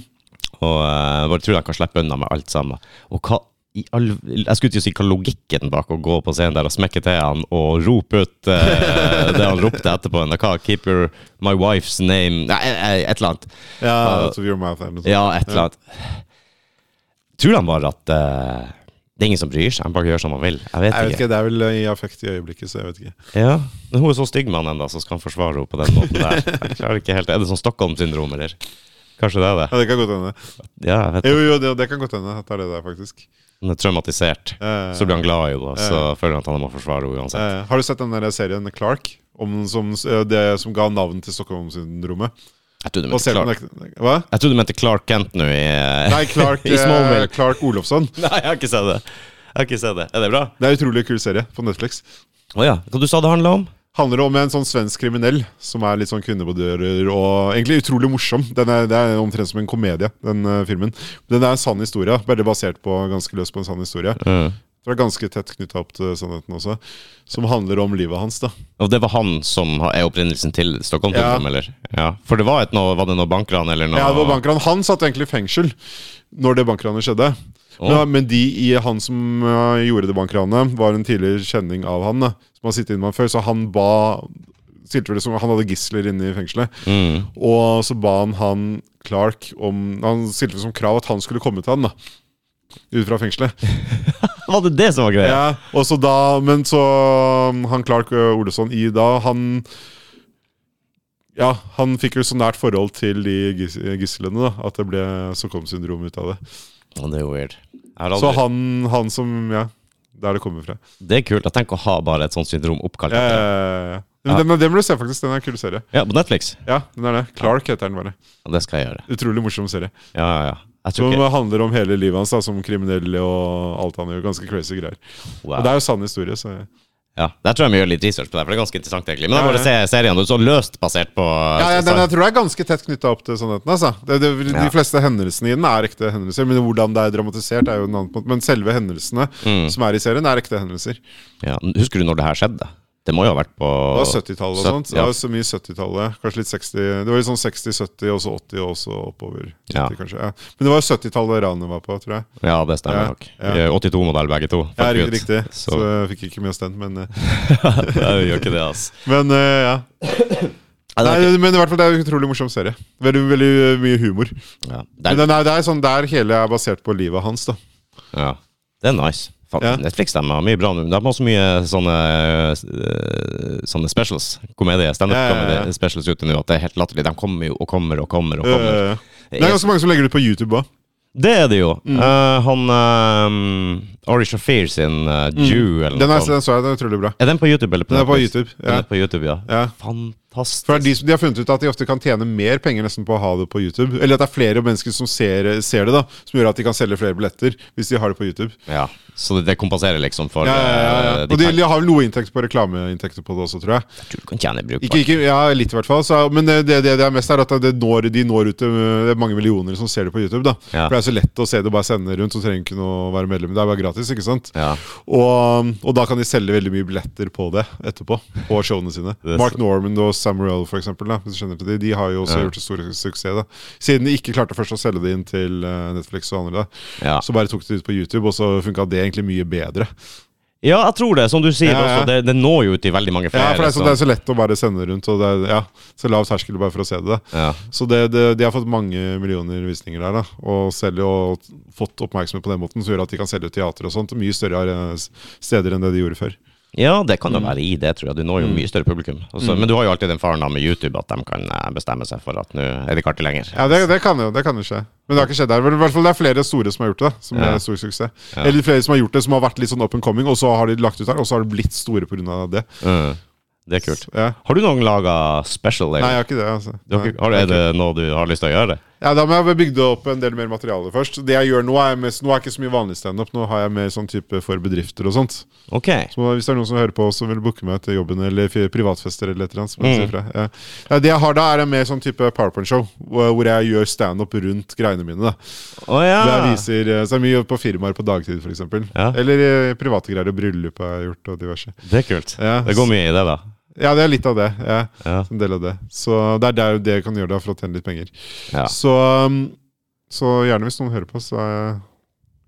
Og eh, bare tror de kan slippe unna med alt sammen. Og hva i all Jeg skulle til å si hva logikken bak å gå på scenen der og smekke til han og rope ut eh, det han ropte etterpå. Eller hva? Keep your my wife's name Nei, eh, eh, et eller annet.
Ja, out of your mouth eller noe sånt.
Ja, et eller annet. Tror han bare at eh, det er ingen som bryr seg, han bare gjør som han vil. Jeg vet,
Jeg vet
ikke.
ikke, Det er vel i affekt i øyeblikket, så jeg vet ikke.
Ja, Men hun er så stygg med han ennå, så skal han forsvare henne på den måten der. Jeg klarer ikke helt Er det sånn Stockholm-syndrom, eller? Kanskje det er det.
Ja, Det kan godt hende.
Ja, jeg vet
Jo, jo, det, det kan godt hende at det er det der, faktisk.
Han er traumatisert.
Ja, ja,
Så blir han glad i henne, så
Ja,
føler han at han må forsvare henne uansett.
Eh, har du sett den der serien Clark? Om, som, eh, det som ga navn til Stockholm-syndromet?
Jeg trodde du mente
Basert på
Clark,
den ekte- Hva?
jeg trodde du mente Clark Kent nå i eh,
Nei, Clark,
I
eh,
Smallville.
Clark Olofsson.
Nei, jeg har ikke sett det. Jeg har ikke sett det. Er det bra?
Det er en utrolig kul serie på Netflix.
Å ja. Hva du sa det handla om?
Handler om en sånn svensk kriminell som er litt sånn kvinnebodører og Egentlig utrolig morsom. Den er, det er omtrent som en komedie, den eh, filmen. Den er en sann historie. Veldig basert på ganske løs på en sann historie.
Mm.
Det er ganske tett knytta opp til sannheten også. Som handler om livet hans, da.
Og det var han som har- er opprinnelsen til Stockholm
Ja.
Syndrome, eller? Ja. For det var et noe, var det noe bankran eller noe
Ja, det var bankran. Han satt egentlig i fengsel når det bankranet skjedde. Men, men de i han som øh, gjorde det bankranet, var en tidligere kjenning av han. Da, som har sittet inne med han før, så han ba stilte vel det som, Han hadde gisler inne i fengselet.
Mm.
Og så ba han han Clark om Han stilte det som krav at han skulle komme til han da ut fra fengselet.
Var det det som var greia?
Ja, og så da, men så um, Han Clark øh, Olesson i da, han ja, Han fikk jo så nært forhold til de gis gislene da, at det ble Stockholm-syndrom ut av det.
Å, Det er jo weird. Jeg har
Så
aldri...
han, han som Ja, der det kommer fra.
Det er kult. Jeg tenker å ha bare et sånt syndrom oppkalt
Ja, ja,
etter
ja, ja. Men den, den må du se, faktisk. Den er en kul serie.
Ja, på Netflix.
Ja, den er det. Clark heter den bare.
Ja, Det skal jeg gjøre.
Utrolig morsom serie.
Ja, ja, ja. Jeg
Som
tror ikke
handler om hele livet hans da, som kriminell og alt han gjør. Ganske crazy greier.
wow.
Og det er jo sann historie, så
Ja, Der tror jeg vi gjør litt research på det, for det er ganske interessant, egentlig. Men da
Ja,
bare se serien. Du er så løst basert på
Ja, ja, den, jeg tror det er ganske tett knytta opp til sannheten. Altså. Det, det, de
Altså, Ja.
fleste hendelsene i den er ekte hendelser. Men hvordan det er dramatisert, er jo en annen måte. Men selve hendelsene
Mm.
som er i serien, er ekte hendelser.
Ja, Husker du når det her skjedde? Det må jo ha vært på
Det var 70-tallet og
Søt-
sånt.
ja.
Det var så mye 70-tallet. Kanskje litt 60 Det var litt sånn 60, 70, og så 80, og så oppover. 90,
Ja.
kanskje. Ja. Men det var jo 70-tallet ranet var på, tror jeg.
Ja, det stemmer
Ja,
nok. Vi er 82-modell begge to.
Ja,
Fuck
riktig,
ut.
riktig. Så.
Så,
jeg fikk ikke med oss den, men eh,
jeg gjør ikke det, altså.
Men eh, ja.
Nei, det
Nei,
er
men i hvert fall det er en utrolig morsom serie. Veldig, veldig eh, mye humor.
ikke- ja.
Men
Det,
den er, det er sånn der hele er basert på livet hans, da.
er, ja. det er nice. Faen,
Ja.
Netflix de har mye bra nå. De har også mye sånne, øh, sånne specials. Komedie,
Ja, ja, ja.
Standup-specials ute nå. At det er helt latterlig. De kommer jo og kommer og kommer. og kommer
Eh, Det er ganske mange som legger det ut på YouTube òg.
Det er det jo.
Mm.
Eh, han eh, Ari Shafir sin eh, Jew eller
Mm. Den,
noe
er-
sånt.
den så jeg, den er utrolig bra.
Er den på YouTube? Eller
Den er på
Netflix?
YouTube.
Den
Ja.
er på YouTube, ja.
Ja.
Fantastisk.
For det er de, som- de har funnet ut at de ofte kan tjene mer penger nesten på å ha det på YouTube. Eller at det er flere mennesker som ser, ser det, da som gjør at de kan selge flere billetter hvis de har det på YouTube.
Ja, Så det kompenserer liksom for
Ja, ja, ja, ja.
eh,
Og de,
de
de har vel noe inntekt på reklameinntekter på det også, tror jeg.
pengene du kan tjene bruk
Ikke, ikke, ja, litt i hvert fall. Så, men det, det, det er mest er at det når, de når ut til øh, det er mange millioner som ser det på YouTube. da
Ja.
For Det er så lett å se det, bare sende rundt, så trenger ikke noe å være medlem. Det er bare gratis, ikke sant?
Ja.
Og, og da kan de selge veldig mye billetter på det etterpå. På showene sine.
Det er
Mark
så- Norman
Norman og Samuel, for eksempel, da, hvis du skjønner til det, de har jo også
Ja.
gjort en stor suksess. da Siden de ikke klarte først å selge det inn til øh, Netflix og andre, da
Ja.
så bare tok de det ut på YouTube, og så funka det egentlig mye bedre.
Ja, jeg tror det. Som du sier,
Ja, ja.
Også, det, det når jo ut til veldig mange flere.
Ja, for det er, så,
så-
det er så lett å bare sende rundt, og det er ja, så lav terskel bare for å se det. da.
Ja.
Så det, det, de har fått mange millioner visninger der, da. Og selger og fått oppmerksomhet på den måten, som gjør at de kan selge ut teater og sånt. Mye større are- steder enn det de gjorde før.
ja, det kan da
Mm.
være i det, tror jeg. Du når jo mye større publikum. Også, Men du har jo alltid den faren da med YouTube at de kan eh, bestemme seg for at nå er det ikke artig lenger.
Ja, det, det kan jo det kan jo skje. Men det har ikke skjedd der. Men i hvert fall det er flere store som har gjort det. da, Som er stor suksess. Eller flere som har gjort det, som har vært litt sånn up and coming, og så har de lagt ut der, og så har de blitt store pga. det.
Mm. Det er kult.
Ja.
Har du noen laga special?
Nei,
Eller?
jeg har ikke det. altså
Du har ikke- har, er det noe du har lyst til å gjøre?
Ja, Da må jeg bygge opp en del mer materiale først. Det jeg gjør Nå er mest, nå er jeg ikke så mye vanlig standup. Nå har jeg mer sånn type for bedrifter og sånt.
Ok.
Så hvis det er noen som hører på som vil booke meg til jobben eller fi- privatfester eller et eller annet, så må
Mm.
jeg si ifra. Ja. Ja, Det jeg har da, er en mer sånn type powerpoint-show, hvor hvor jeg gjør standup rundt greiene mine. da
Å ja.
Hvor jeg viser, eh, Så er det mye på firmaer på dagtid, f.eks. eksempel
Ah. Ja.
Eller eh, private greier og bryllup jeg har gjort, og diverse.
Det er kult.
Ja.
Det går mye i det, da.
Ja, det er litt av det. Ja.
Ja.
En del av det. Så det er der det jeg kan gjøre da, for å tjene litt penger.
Ja.
Så, um, så gjerne hvis noen hører på, så er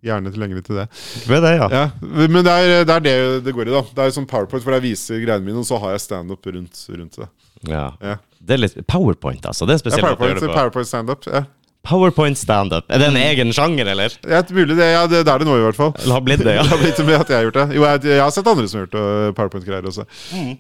jeg gjerne tilgjengelig til det.
Med det, ja.
Ja, Men det er, det er det det går i, da. Det er sånn powerpoint, for jeg viser greiene mine, og så har jeg standup rundt, rundt det.
ja.
Ja.
Det er litt PowerPoint, altså. Det er en
Ja,
spesiell måte å
powerpoint Mm.
gjøre det på.
powerpoint standup. Ja.
PowerPoint standup. Er det en egen sjanger, eller?
Ja, det er mulig det, ja, det, det er det nå, i hvert fall.
Eller har blitt det, ja.
Det har blitt med at jeg har gjort det. Jo, jeg, jeg har sett andre som har gjort det, powerpoint-greier også.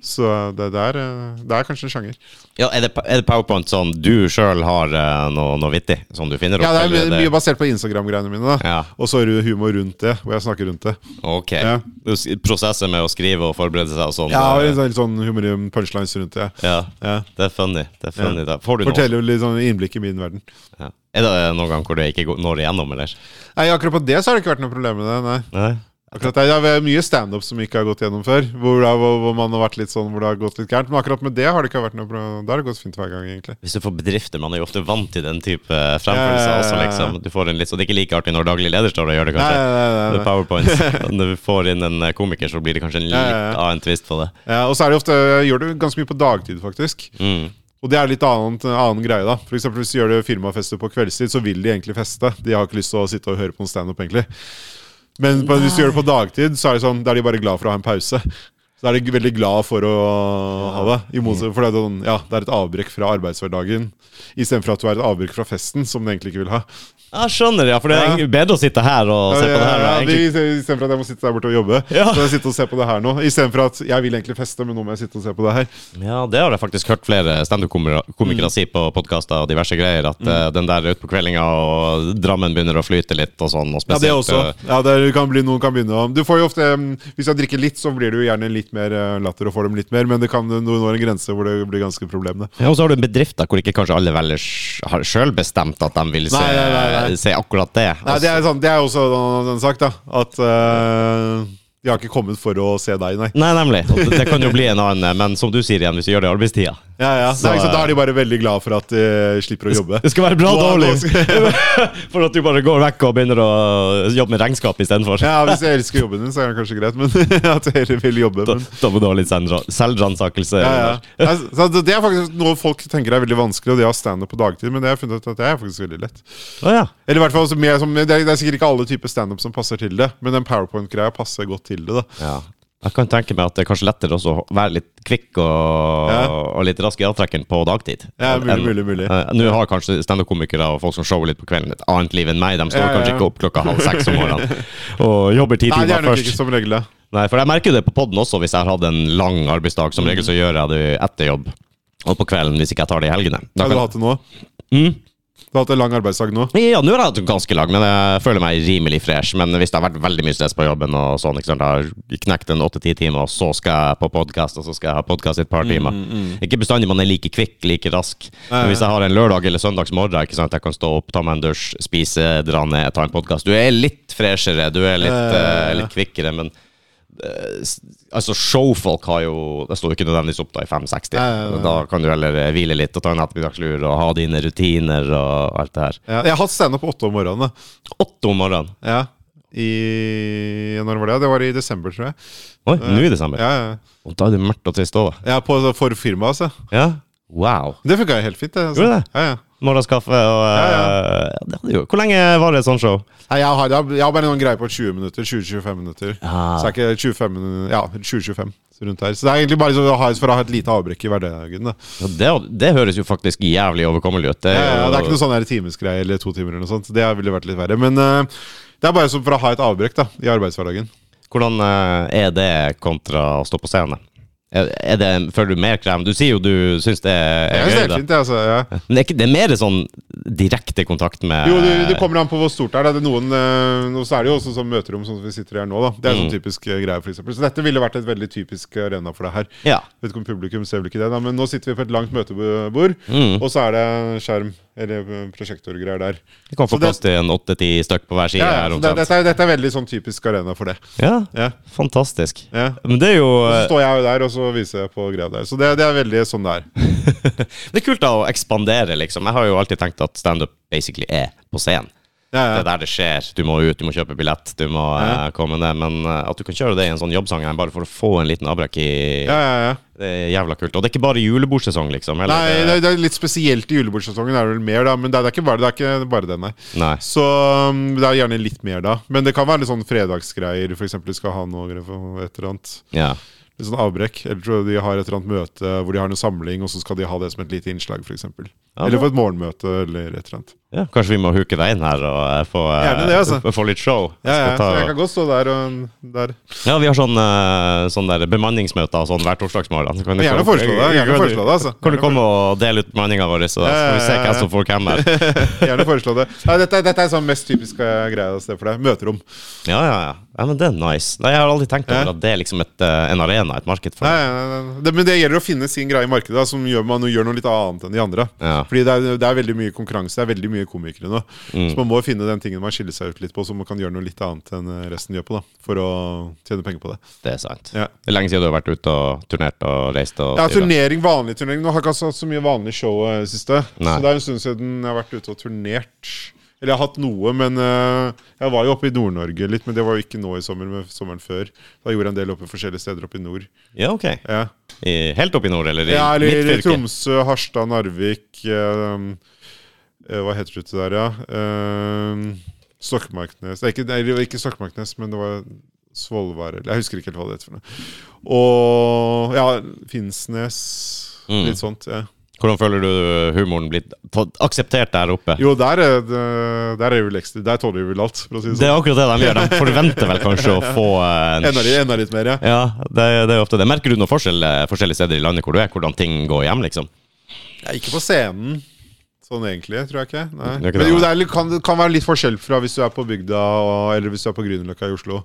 Så det, det, er, eh, det er kanskje en sjanger.
Ja, er det, er det PowerPoint som du sjøl har eh, noe, noe vittig, som du finner opp?
Ja, det er
eller
mye- mye basert på Instagram-greiene mine, da.
Ja.
Og så ru- humor rundt det, hvor jeg snakker rundt det.
Ok.
Ja.
Du s- Prosesser med å skrive og forberede seg og sånn.
Ja, og
eh,
litt sånn, litt sånn humor punchlines rundt det.
ja.
Ja.
Det er funny. Det er funny da. Får du noe?
Forteller litt sånn innblikk i min verden.
Ja. Er det noen gang hvor det ikke går- når igjennom, eller?
Nei, akkurat på det så har det ikke vært noe problem med det. nei
Nei?
Akkurat det, det er mye standup som ikke har gått gjennom før. Hvor, det er- hvor, hvor man har vært litt sånn, hvor det har gått litt gærent. Men akkurat med det har det ikke vært noe problem. Da har det gått fint hver gang, egentlig.
Hvis du får bedrifter, man er jo ofte vant til den type eh, fremførelser
Ja, ja, ja, ja.
også, liksom. Du får en litt, så det er ikke like artig når daglig leder står og gjør det,
Nei,
kanskje.
nei, nei, nei.
Med PowerPoints. Men Når du får inn en eh, komiker, så blir det kanskje en litt
Ja, ja, ja.
annen twist på det.
Ja, og så er det ofte, gjør du ganske mye på dagtid, faktisk.
Mm.
Og det er litt annen, annen greie, da. For eksempel, hvis du gjør det firmafester på kveldstid, så vil de egentlig feste. De har ikke lyst til å sitte og høre på noen standup, egentlig. Men på, hvis du gjør det på dagtid, så er, det sånn, da er de bare glad for å ha en pause. Så er de veldig glad for å ha det. I motsetning, for det er, sånn, ja, det er et avbrekk fra arbeidshverdagen istedenfor at du er et avbrekk fra festen, som de egentlig ikke vil ha.
Jeg skjønner, ja, for det er egentlig bedre å sitte her og se på det her. da,
Ja,
egentlig.
de- Istedenfor at jeg må sitte der borte og jobbe.
Ja.
Så jeg sitter og ser på det her nå. Istedenfor at jeg vil egentlig feste, men nå må jeg sitte og se på det her.
Ja, det har jeg faktisk hørt flere
Mm.
standup-komikere si på podkaster og diverse greier, at eh, den der ute på kveldinga og Drammen begynner å flyte litt og sånn, og
Ja, det
spesielt
også.
eh,
Ja, det kan bli, noen kan begynne å Du får jo ofte mm, Hvis jeg drikker litt, så blir det jo gjerne litt mer eh, latter og får dem litt mer, men det kan nå når en grense hvor det blir ganske problemene.
Ja, og så har du en bedrift da, hvor ikke kanskje alle velger sj- har sjøl bestemt at de vil se,
Nei, nei, nei, nei.
se akkurat det. Altså,
Nei, det er sånn, det er jo også en annen sak, da. At eh, de har ikke kommet for å se deg, nei.
Nei, nemlig. Og Det, det kan jo bli en annen, eh, men som du sier igjen, hvis du gjør det i arbeidstida
Ja, ja.
Så,
Nei, så da er de bare veldig glad for at de slipper å jobbe.
Det skal være bra
Wow,
dårlig!
nå
For at du bare går vekk og begynner å jobbe med regnskap istedenfor.
Ja, Hvis jeg elsker jobben din, så er det kanskje greit, men at jeg heller vil jobbe.
Da,
Men.
da må du ha litt selvra- selvransakelse.
Ja, ja. Nei, så Det er faktisk noe folk tenker er veldig vanskelig, og det å ha standup på dagtid, men det har jeg funnet ut at det er faktisk veldig lett.
Å, ja.
Eller i hvert fall så mer som, det, er, det er sikkert ikke alle typer standup som passer til det, men den powerpoint-greia passer godt til det. da
Ja. Jeg kan tenke meg at det er kanskje lettere også å være litt kvikk og,
Ja.
og litt rask i avtrekken på dagtid.
Ja, mulig,
Enn-
mulig, mulig.
Eh, Nå har kanskje standup-komikere og folk som shower litt på kvelden, et annet liv enn meg. De står
Ja, ja,
kanskje
ja.
ikke opp klokka halv seks om morgenen og jobber ti
Nei, det er
timer
nok
først.
ikke som regel det.
Nei, for jeg merker jo det på podden også, hvis jeg har hatt en lang arbeidsdag. Som regel så
Mm.
gjør jeg det etter jobb. Og på kvelden, hvis ikke jeg tar det i helgene. Da
Har du
kan,
hatt det nå?
Mm.
Du har hatt en lang arbeidsdag nå?
ja, nå har jeg hatt ganske lang, men jeg føler meg rimelig fresh. Men hvis det har vært veldig mye stress på jobben, og sånn, ikke sant, jeg har knekt en åtte-ti timer, og så skal jeg på podkast, og så skal jeg ha podkast i et
Mm,
par timer. Ikke bestandig man er like kvikk, like rask. Men hvis jeg har en lørdag eller søndags morgen, ikke sant, jeg kan stå opp, ta meg en dusj, spise, dra ned, ta en podkast. Du er litt freshere, du er litt,
Ja, ja, ja.
eh, litt kvikkere, men eh, s- Altså Showfolk har jo Jeg står jo ikke nødvendigvis opp da i 5-60.
Nei, nei, nei.
Da kan du heller eh, hvile litt og ta en ettermiddagslur og ha dine rutiner og alt det her.
Ja, jeg har hatt standup åtte om morgenen. da
Åtte om morgenen.
Ja I Når var det? Det var i desember, tror jeg.
Oi, nå i desember.
Ja, ja.
Og da er det mørkt og trist òg.
ja på, for firmaet, altså.
Ja. Wow.
Det funka helt fint. Det, altså.
Gjorde det?
Ja, ja.
Morgenskaffe og eh,
Ja,
det hadde jo- Hvor lenge var det et sånt show?
Nei, jeg, har, jeg har bare noen greier på 20 minutter. 20-25 minutter.
Ja.
Så er ikke 25, minutter- ja, 20-25 så rundt her. Så det er egentlig bare så å ha- for å ha et lite avbrekk i hverdagen. da
Ja, det, det høres jo faktisk jævlig overkommelig ut.
Ja, ja, det er
jo-
ikke noe sånn her timesgreie eller to timer eller noe sånt. Det ville vært litt verre. Men eh, det er bare som for å ha et avbrekk da, i arbeidshverdagen.
Hvordan eh, er det kontra å stå på scene? Er, er det, Føler du mer krem? Du sier jo du syns det er,
Jeg synes det er
gøy.
helt
da.
fint, jeg, altså, ja.
Men det er, ikke, det er mer sånn direkte kontakt med
Jo, det, det kommer an på hvor stort det er. da. Det er noen, eh, og så er det jo også sånn møterom sånn som vi sitter her nå. da Det er sånn
Mm.
typisk eh, greie, for eksempel. Så dette ville vært et veldig typisk eh, arena for det her.
Ja.
Vet ikke om publikum ser vel ikke det, da, men nå sitter vi på et langt møtebord,
Mm.
og så er det skjerm eller eh, prosjektorgreier der.
Vi kan få
Så det-
plass til en åtte-ti stykk på hver side.
Ja, ja,
her
så det,
omtrent.
dette, er, dette er veldig sånn typisk arena for det.
ja,
Ja,
fantastisk.
ja.
Men det er jo
Så
eh,
står jeg jo der, og så viser jeg på greia der. Så det, det er veldig sånn det er.
Det er kult da å ekspandere, liksom. Jeg har jo alltid tenkt at standup basically er på scenen.
Ja,
Det
ja.
er der det skjer. Du må ut, du må kjøpe billett, du må
Ja.
eh, komme ned. Men eh, at du kan kjøre det i en sånn jobbsangeren bare for å få en liten avbrekk i
ja, ja, ja.
Det er jævla kult. Og det er ikke bare julebordsesong, liksom. heller.
Nei, det, det er litt spesielt i julebordsesongen, er det vel mer da. Men det er, det er, ikke, bare, det er ikke bare den, nei.
Nei.
Så um, det er gjerne litt mer da. Men det kan være litt sånn fredagsgreier, f.eks. de skal ha noe greier for et eller annet.
Ja.
Litt sånn avbrekk. Eller tror jeg de har et eller annet møte hvor de har en samling, og så skal de ha det som et lite innslag, f.eks.
Ja,
eller
bra.
for et morgenmøte, eller et eller annet.
ja. Kanskje vi må huke deg inn her og eh, få, eh,
Gjerne det, altså.
få litt show.
Ja, ja.
Skal
Så
ta-
jeg kan godt stå der og der.
ja, vi har sånn, eh, sånn der bemanningsmøter og sånn hver torsdagsmorgen. Så kan du
Men gjerne
komme-
foreslå det. Gjerne foreslå det, altså.
Kan du komme og dele ut bemanninga vår, så
Ja,
skal vi
ja,
se
ja,
hvem
ja.
som får hvem her?
Gjerne foreslå det. Nei, dette, dette er sånn mest typiske greia sted for deg. Møterom.
Ja, ja, ja. ja men det er nice. Nei, jeg har aldri tenkt over
Ja.
at det er liksom et, eh, en arena, et marked for
Nei,
det.
nei, nei, nei. Det, men det gjelder å finne sin greie i markedet, da, som gjør man gjør noe litt annet enn de andre.
Ja.
Fordi det er, det er veldig mye konkurranse, det er veldig mye komikere nå.
Mm.
Så man må finne den tingen man skiller seg ut litt på, som man kan gjøre noe litt annet enn eh, resten gjør på, da. For å tjene penger på det.
Det er sant.
Ja.
Det er lenge siden du har vært ute og turnert og reist og
Ja,
styret.
turnering, vanlig turnering. Nå har jeg ikke hatt så mye vanlig show eh, i det siste.
Nei.
Så det er en stund siden jeg har vært ute og turnert. Eller jeg har hatt noe, men eh, jeg var jo oppe i Nord-Norge litt. Men det var jo ikke nå i sommer, men sommeren før. Da gjorde jeg en del oppe i forskjellige steder oppe i nord.
Ja, ok.
Ja,
I, helt oppe i nord, eller i
ja
mitt
eller
fylke?
Tromsø, Harstad, Narvik eh, eh, Hva heter det ute der, ja? Eh, Stokmarknes Nei, ikke, nei, det var ikke Stokmarknes, men det var Svolvær eller Jeg husker ikke helt hva det heter. for noe. Og ja, Finnsnes.
Mm.
Litt sånt. ja
Hvordan føler du humoren blitt tatt- akseptert der oppe?
Jo, der er det Der er jo ekstra Der tåler vi vel alt, for å si det
Det
sånn.
er akkurat det de gjør. De forventer vel kanskje å få eh, en
Enda litt, enda litt mer, ja.
Ja, det, det er ofte det. Merker du noen forskjell eh, forskjellige steder i landet hvor du er, hvordan ting går hjem, liksom?
Ja, Ikke på scenen. Sånn egentlig, tror jeg ikke. Nei.
Det er ikke
Men
det,
jo,
nei.
det er, litt- kan, det kan være litt forskjell fra hvis du er på bygda og, eller hvis du er på Grünerløkka i Oslo.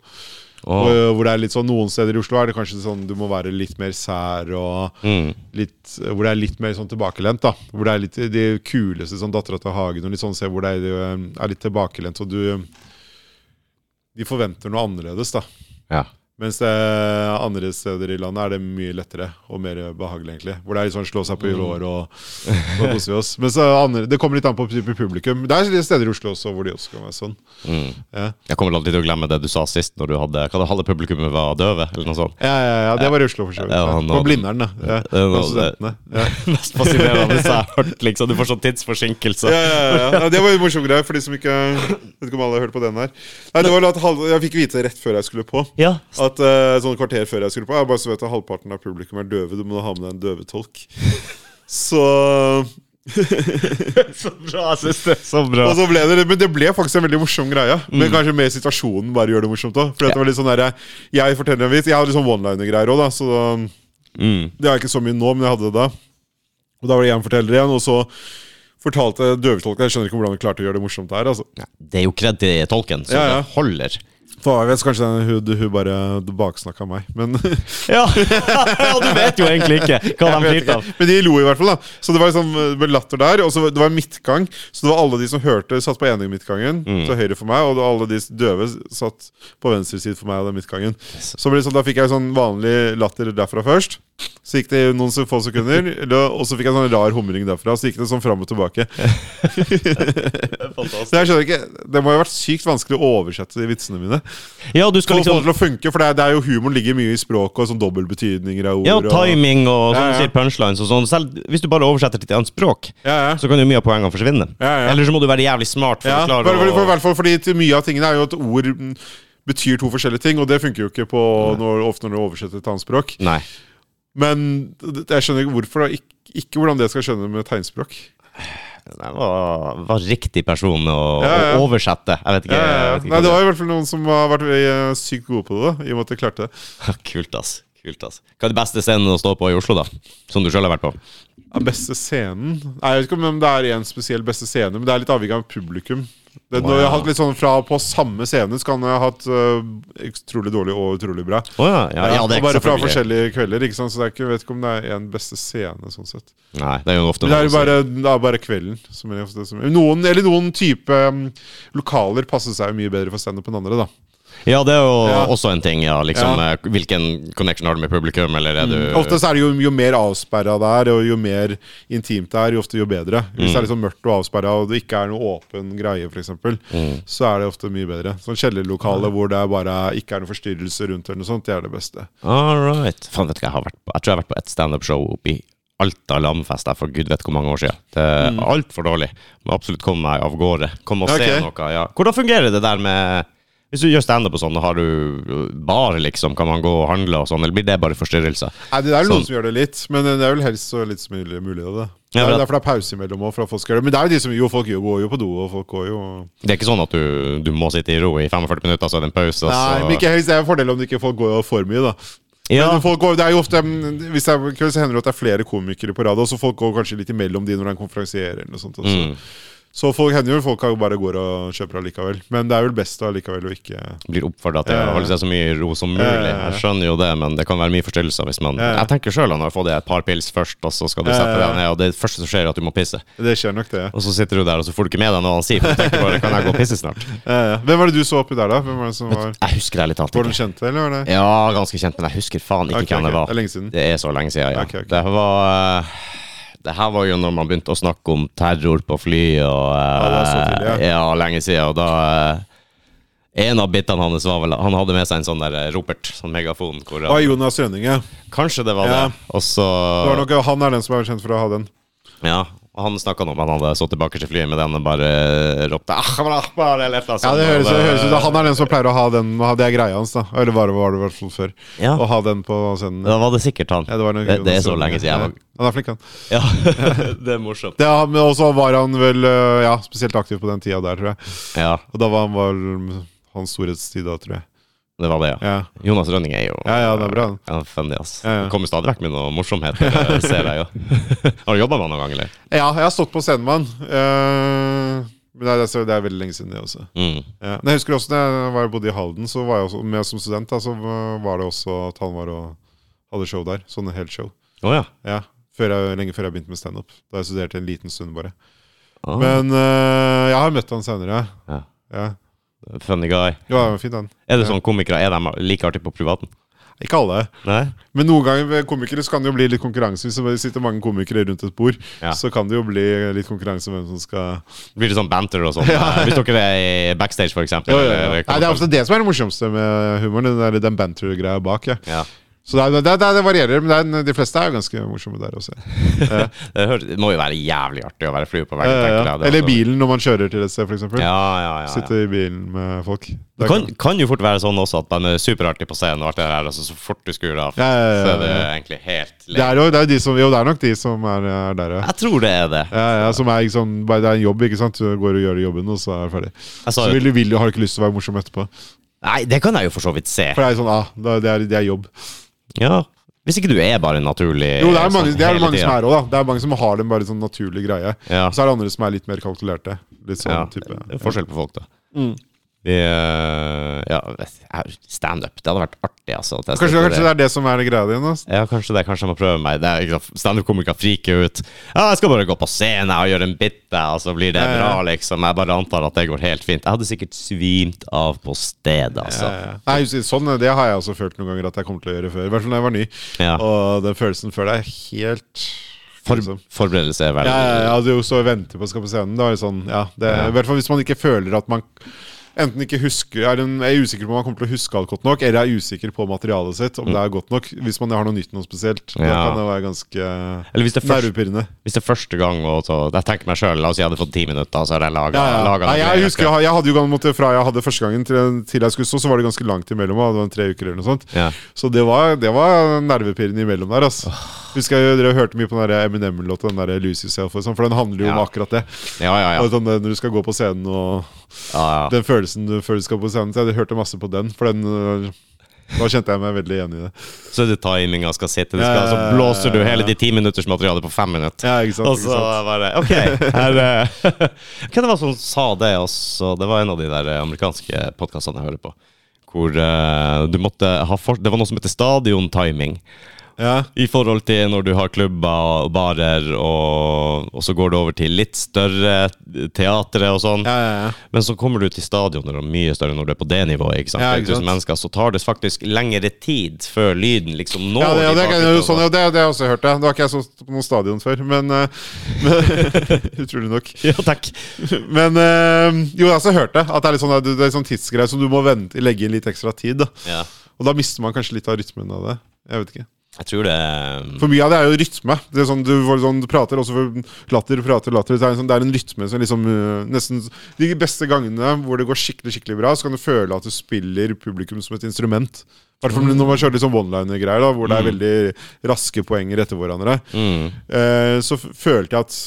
Åh,
Hvor, hvor det er litt sånn Noen steder i Oslo er det kanskje sånn du må være litt mer sær, og
Mm.
litt, hvor det er litt mer sånn tilbakelent. da Hvor det er litt de kuleste sånn Dattera til Hagen og litt sånn se hvor det er, eh, er litt tilbakelent, og du De forventer noe annerledes, da.
Ja.
Mens det andre steder i landet er det mye lettere og mer behagelig, egentlig. Hvor det er litt sånn slå seg på lår og, og kose vi oss. Mens eh, andre, det kommer litt an på type publikum. Det er steder i Oslo også hvor de også kan være sånn.
Mm.
Ja.
Jeg kommer alltid til å glemme det du sa sist, når du hadde Hva da halve publikummet var døve, eller noe sånt.
Ja, ja, ja, det var i Oslo for så vidt.
Ja,
Ja,
han
på
hadde-
Blindern, da. Ja,
Det var-
blant studentene. Ja.
Mest fascinerende jeg har hørt, liksom. Du får sånn tidsforsinkelse.
Ja, ja, ja, ja. Det var en morsom greie, for de som ikke Vet ikke om alle har hørt på den her. Nei, det var at halv, Jeg fikk vite rett før jeg skulle på.
Ja.
At eh, sånn kvarter før jeg skulle på Jeg bare så vet at halvparten av publikum er døve. Du må ha med deg en døvetolk. Så
Så bra, jeg syns det er så bra.
Og så ble det, men det ble faktisk en veldig morsom greie. Men kanskje mer situasjonen bare gjør det morsomt òg. For dette var litt sånn der, jeg forteller en vits. Jeg hadde litt sånn one-liner-greier òg, da. Så
Mm.
Det har jeg ikke så mye nå, men jeg hadde det da. Og da var det én forteller igjen, og så fortalte døvetolka Jeg skjønner ikke hvordan hun klarte å gjøre det morsomt der. altså.
Det er jo kred til tolken, så
Ja, ja.
det holder.
For jeg vet kanskje den, hun, hun bare baksnakka meg, men
Ja. og du vet jo egentlig ikke
Jeg
hva de
vet
flirte
ikke.
av.
Men de lo i hvert fall, da. Så det var liksom eh, det ble latter der. Og så var- det var midtgang, så det var alle de som hørte, satt på ene midtgangen
Mm.
til høyre for meg, og da alle de døve satt på venstre side for meg av den midtgangen. Så ble det sånn, da fikk jeg sånn vanlig latter derfra først. Så gikk det noen så få sekunder, eller- og så fikk jeg sånn rar humring derfra. Så gikk det sånn fram og tilbake. Så jeg skjønner ikke, Det må jo ha vært sykt vanskelig å oversette de vitsene mine.
Ja, du
Få
skal
få det
liksom
til å funke, for det er, det er jo humoren ligger mye i språket og sånn dobbeltbetydninger av ord.
Ja,
og-
timing og sånn
Ja, ja.
du sier punchlines og sånn. Selv hvis du bare oversetter til et annet språk,
Ja, ja.
så kan jo mye av poengene forsvinne.
Ja, ja.
Eller så må du være jævlig smart for
Ja,
å klare
bare, bare, for,
å
i hvert fall fordi til mye av tingene er jo at ord mm, betyr to forskjellige ting, og det funker jo ikke på når, ofte når du oversetter et annet språk.
Nei.
Men d- jeg skjønner ikke hvorfor da, ikke, ikke hvordan det skal skjønne med tegnspråk.
Jeg var, var riktig person å,
Ja, ja.
å oversette. Jeg vet ikke.
Ja, ja, ja.
Jeg vet ikke
Nei,
hva
det var i hvert fall noen som har vært eh, sykt gode på det, da, i og med at de klarte det.
det- Kult, ass. Kult, ass. Hva er det beste scenen å stå på i Oslo, da? Som du sjøl har vært på?
Ja, beste scenen Nei, Jeg vet ikke om det er en spesiell beste scene, men det er litt avhengig av publikum. Det,
Wow.
Når jeg har hatt litt sånn fra på samme scene, så kan jeg ha hatt eh, utrolig dårlig og utrolig bra.
Å ja, ja, ja, det er
og bare
ikke
fra
selvfølgelig
forskjellige kvelder. ikke sant? Så det er ikke, jeg vet ikke om det er en beste scene. sånn sett.
Nei, det er jo ofte
Men det er jo
noe
bare, det er bare kvelden. Som er ofte, som, noen, eller noen type um, lokaler passer seg jo mye bedre for standup enn andre. da.
som- Ja, det er jo
Ja.
også en ting, ja. Liksom, eh, Hvilken connection har du med publikum, eller er du
Mm, Ofte så er det jo, jo mer avsperra det er, og jo mer intimt det er, jo ofte jo bedre. Hvis
Mm.
det er litt sånn mørkt og avsperra, og det ikke er noe åpen greie, f.eks.,
Mm.
så er det ofte mye bedre. Sånn kjellerlokale hvor det er bare ikke er noen forstyrrelser rundt, eller noe sånt, det er det beste.
All right. Faen, vet du hva jeg har vært på? Jeg tror jeg har vært på et standup-show oppe i Alta Lamfest der for gud vet hvor mange år siden. Det
Mm.
er altfor dårlig. Må absolutt komme meg av gårde. Kom og se
Ok.
noe. Ja. Hvordan fungerer det der med Hvis du gjør standup og sånn, har du bar, liksom? Kan man gå og handle og sånn, eller blir det bare forstyrrelse?
Nei, Det er jo noen
Sånn.
som gjør det litt, men det er vel helst så litt som mulig mulig av det. Det
Ja,
er
for
jo
at-
derfor det er pause imellom òg, for at folk skal gjøre det. Men det er jo de som jo, folk jo, går jo på do, og folk går jo
Det er ikke sånn at du, du må sitte i ro i 45 minutter, så er det en pause, og
Nei,
så
men ikke helst. Det er en fordel om det ikke folk går for mye, da.
ja.
Men folk går, det er jo ofte mm, Hvis det er
Mm.
kveld, så hender det at det er flere komikere på rad, og så folk går kanskje litt imellom de når de konferansierer eller noe sånt. Også. Så folk hender jo folk bare går og kjøper allikevel. Men det er vel best allikevel å ikke
Blir oppfordra til å holde seg så mye i ro som mulig. Jeg skjønner jo det, men det kan være mye forstyrrelser hvis man Jeg tenker sjøl han har fått deg et par pils først, og så skal du sette deg ned, og det første som skjer, er at du må pisse.
Det skjer nok, det.
Og så sitter du der, og så får du ikke med deg noe han sier, for du tenker bare kan jeg gå og pisse snart?
Eh, hvem var det du så oppi der, da? Hvem Var det som var,
Jeg husker ærlig talt
var den
ikke.
kjente, eller var det?
Ja, ganske kjent, men jeg husker faen ikke
Ok,
hvem det
ok.
var.
Det er lenge siden.
Det er så lenge siden, ja.
Ok, ok.
Det her var eh, Det her var jo når man begynte å snakke om terror på fly og
det er så tidlig,
eh, ja, lenge siden, og da eh, En av bitene hans var vel Han hadde med seg en sånn der eh, Ropert, sånn megafon. Hvor,
Ah, Jonas Rønninge.
kanskje det var
Ja.
det. Og så
Det var nok, han er den som er kjent for å ha den.
Ja. og Han snakka om han hadde sittet bakerst i flyet med den og bare ropte "Ah, «Ahmar, Ahmar», eller et eller annet
Ja, det
sånt,
høres,
og
det høres ut Han er den som pleier å ha den og ha- Det er greia hans, da. Eller var det var det i hvert fall før.
Ja.
Å ha den på scenen.
Da var det sikkert han.
Ja, det, var nok
det, det er
Jonas
så
Rønninge.
lenge siden. jeg var-
Ja, Han er flink, han.
Ja, det er morsomt.
Det, er- men også var han vel øh, ja, spesielt aktiv på den tida der, tror jeg.
Ja,
Og da var han vel hans storhetstid da, tror jeg.
det var det, ja.
Ja,
Jonas Rønning er jo
ja, ja det er bra. han.
Ja, funny, ass.
Ja, ja.
Kommer stadig vekk med noe morsomhet, det ser jeg jo. Har du jobba med han noen gang, eller?
Ja, jeg har stått på scenen med han. Eh, men det er, det er- det er veldig lenge siden, det også.
Mm.
Ja. Men jeg husker også når jeg var, bodde i Halden, så var jeg også med som student. Da, så var det også at han var og hadde show der. Sånn helt show.
Å ja.
Ja, før jeg, Lenge før jeg begynte med standup. Da jeg studerte en liten stund, bare.
Ah,
Men eh, jeg har møtt han senere.
Ja.
Ja.
funny guy.
Jo, han var fint, han.
Er det sånn komikere er de like artige på privaten?
Ikke alle.
Nei?
Men noen ganger med komikere så kan det jo bli litt konkurranse. Hvis det sitter mange komikere rundt et bord,
Ja.
så kan det jo bli litt konkurranse om hvem som skal
Blir det sånn banter og sånn? Hvis dere er i backstage, for eksempel?
Nei,
eller-
Det er ofte det som er det morsomste med humoren. Den, der- den banter-greia bak. Ja.
ja.
Så det, er- det, det, det varierer, men det er, en- de fleste er jo ganske morsomme der også.
Det, høres- det må jo være jævlig artig å være flue på veggen,
Ja, ja.
tenker jeg. Det er
Eh, Eller i
også-
bilen når man kjører til et sted, f.eks.
altså. Ja, ja, ja. ja.
Sitte i bilen med folk.
Det kan, kan jo fort være sånn også at de er superartige på scenen, og alt det der, altså, så fort du skrur av,
Ja, ja, ja, ja,
så er det
ja.
egentlig helt
det, er jo, det, er jo de som, jo, det er nok de som er, er der, ja.
Jeg tror det er det.
Ja, ja, som er ikke sånn, bare, det er en jobb, ikke sant? Du går og gjør jobben, og så er du ferdig.
Jeg
Så
sa jo,
vil du, vil du, har du ikke lyst til å være morsom etterpå.
nei, det kan jeg jo for så vidt se.
For det er sånn, ah, da- det er, det er jobb.
Ja. Hvis ikke du er bare naturlig
Jo, det er mange,
sånn
det er
hele
mange som
tiden.
er òg, da. Det er mange som har den bare sånn naturlig greie.
Ja.
Så er det andre som er litt mer kalkulerte. Litt sånn
Ja,
type. Mm.
Det er forskjell på folk, da. Vi, eh, ja, jeg- Standup. Det hadde vært artig, altså. å teste
Kanskje,
på
kanskje det er det som er greia di? nå?
Ja, kanskje det. Kanskje jeg må prøve meg. Det er ikke sant, Standup-komikere friker ut. Ja, 'Jeg skal bare gå på scenen og gjøre en bit, der, og så blir det
Ja, ja.
bra', liksom. Jeg bare antar at det går helt fint. Jeg hadde sikkert svimt av på stedet, altså.
Nei, husk- sånn, det har jeg også følt noen ganger at jeg kommer til å gjøre før. I hvert fall da jeg var ny.
Ja.
Og den følelsen før det er helt
For,
liksom.
forberedelse er vel
Ja, ja, ja, du står og venter på å skal på scenen. Det er jo sånn, ja, det, I hvert fall hvis man ikke føler at man Enten ikke husker, er, en, er usikker på om man kommer til å huske alt godt nok, eller er usikker på materialet sitt, om det er godt nok. Hvis man har noe nytt, noe spesielt. Da
Mm. Ja.
kan det være ganske
Eller hvis det er først-
nervepirrende.
Hvis det er første gang og så, Jeg tenker meg sjøl, la oss si jeg hadde fått ti minutter, så hadde jeg laga
Ja, ja. Nei, jeg husker jeg, jeg hadde jo gammel måte fra jeg hadde første gangen til, til jeg skulle stå, så var det ganske langt imellom. og Det var en tre uker eller noe sånt.
Ja.
Så det var, det var nervepirrende imellom der. Altså. Husker jeg jo- Dere hørte mye på den der Eminem-låta, den der 'Lose Yourself', og sånn, for den handler jo om
Ja.
akkurat det.
Ja, ja, ja.
Og sånn, det når du skal gå på scenen og
ja, ja.
den følelsen du før du skal på scenen. Så jeg hørte masse på den, for den øh, da kjente jeg meg veldig igjen i det.
Så er det timinga skal sitte. Det skal,
Ja, ja,
så
ja,
blåser du
ja, ja.
hele de ti minutters materialet på fem minutter.
Ja, ikke sant,
Og
ikke
så
sant.
bare OK. Her, eh, Hvem det var som sa det også? Det var en av de der eh, amerikanske podkastene jeg hører på. Hvor eh, du måtte ha for Det var noe som heter stadiontiming.
Ja,
I forhold til når du har klubber og barer, og, og så går det over til litt større teatre og sånn.
ja, ja, ja.
Men så kommer du til stadioner og mye større når du er på det nivået. ikke sant?
Ja, ikke
3000
sant.
mennesker, Så tar det faktisk lengre tid før lyden liksom når
Ja, det, ja,
de altså.
det, kan jeg jo
bakre
sånn, ja, det, det har jeg også hørt. Ja. Det har ikke jeg stått på noe stadion før, men, øh, men utrolig nok.
Ja, takk.
Men øh, jo, jeg har også hørt det. At det er litt sånn, det er litt sånn tidsgreie, så du må vente, legge inn litt ekstra tid. Da.
Ja.
Og da mister man kanskje litt av rytmen av det. Jeg vet ikke.
Jeg tror det um,
For mye av det er jo rytme. Det er sånn, du, får sånn, du prater også for latter, prater, latter. Det er, en sånn, det er en rytme som liksom øh, nesten De beste gangene hvor det går skikkelig skikkelig bra, så kan du føle at du spiller publikum som et instrument. I hvert fall når man kjører litt sånn one-liner-greier, da, hvor det er veldig raske poenger etter hverandre.
mm,
Eh, så f- følte jeg at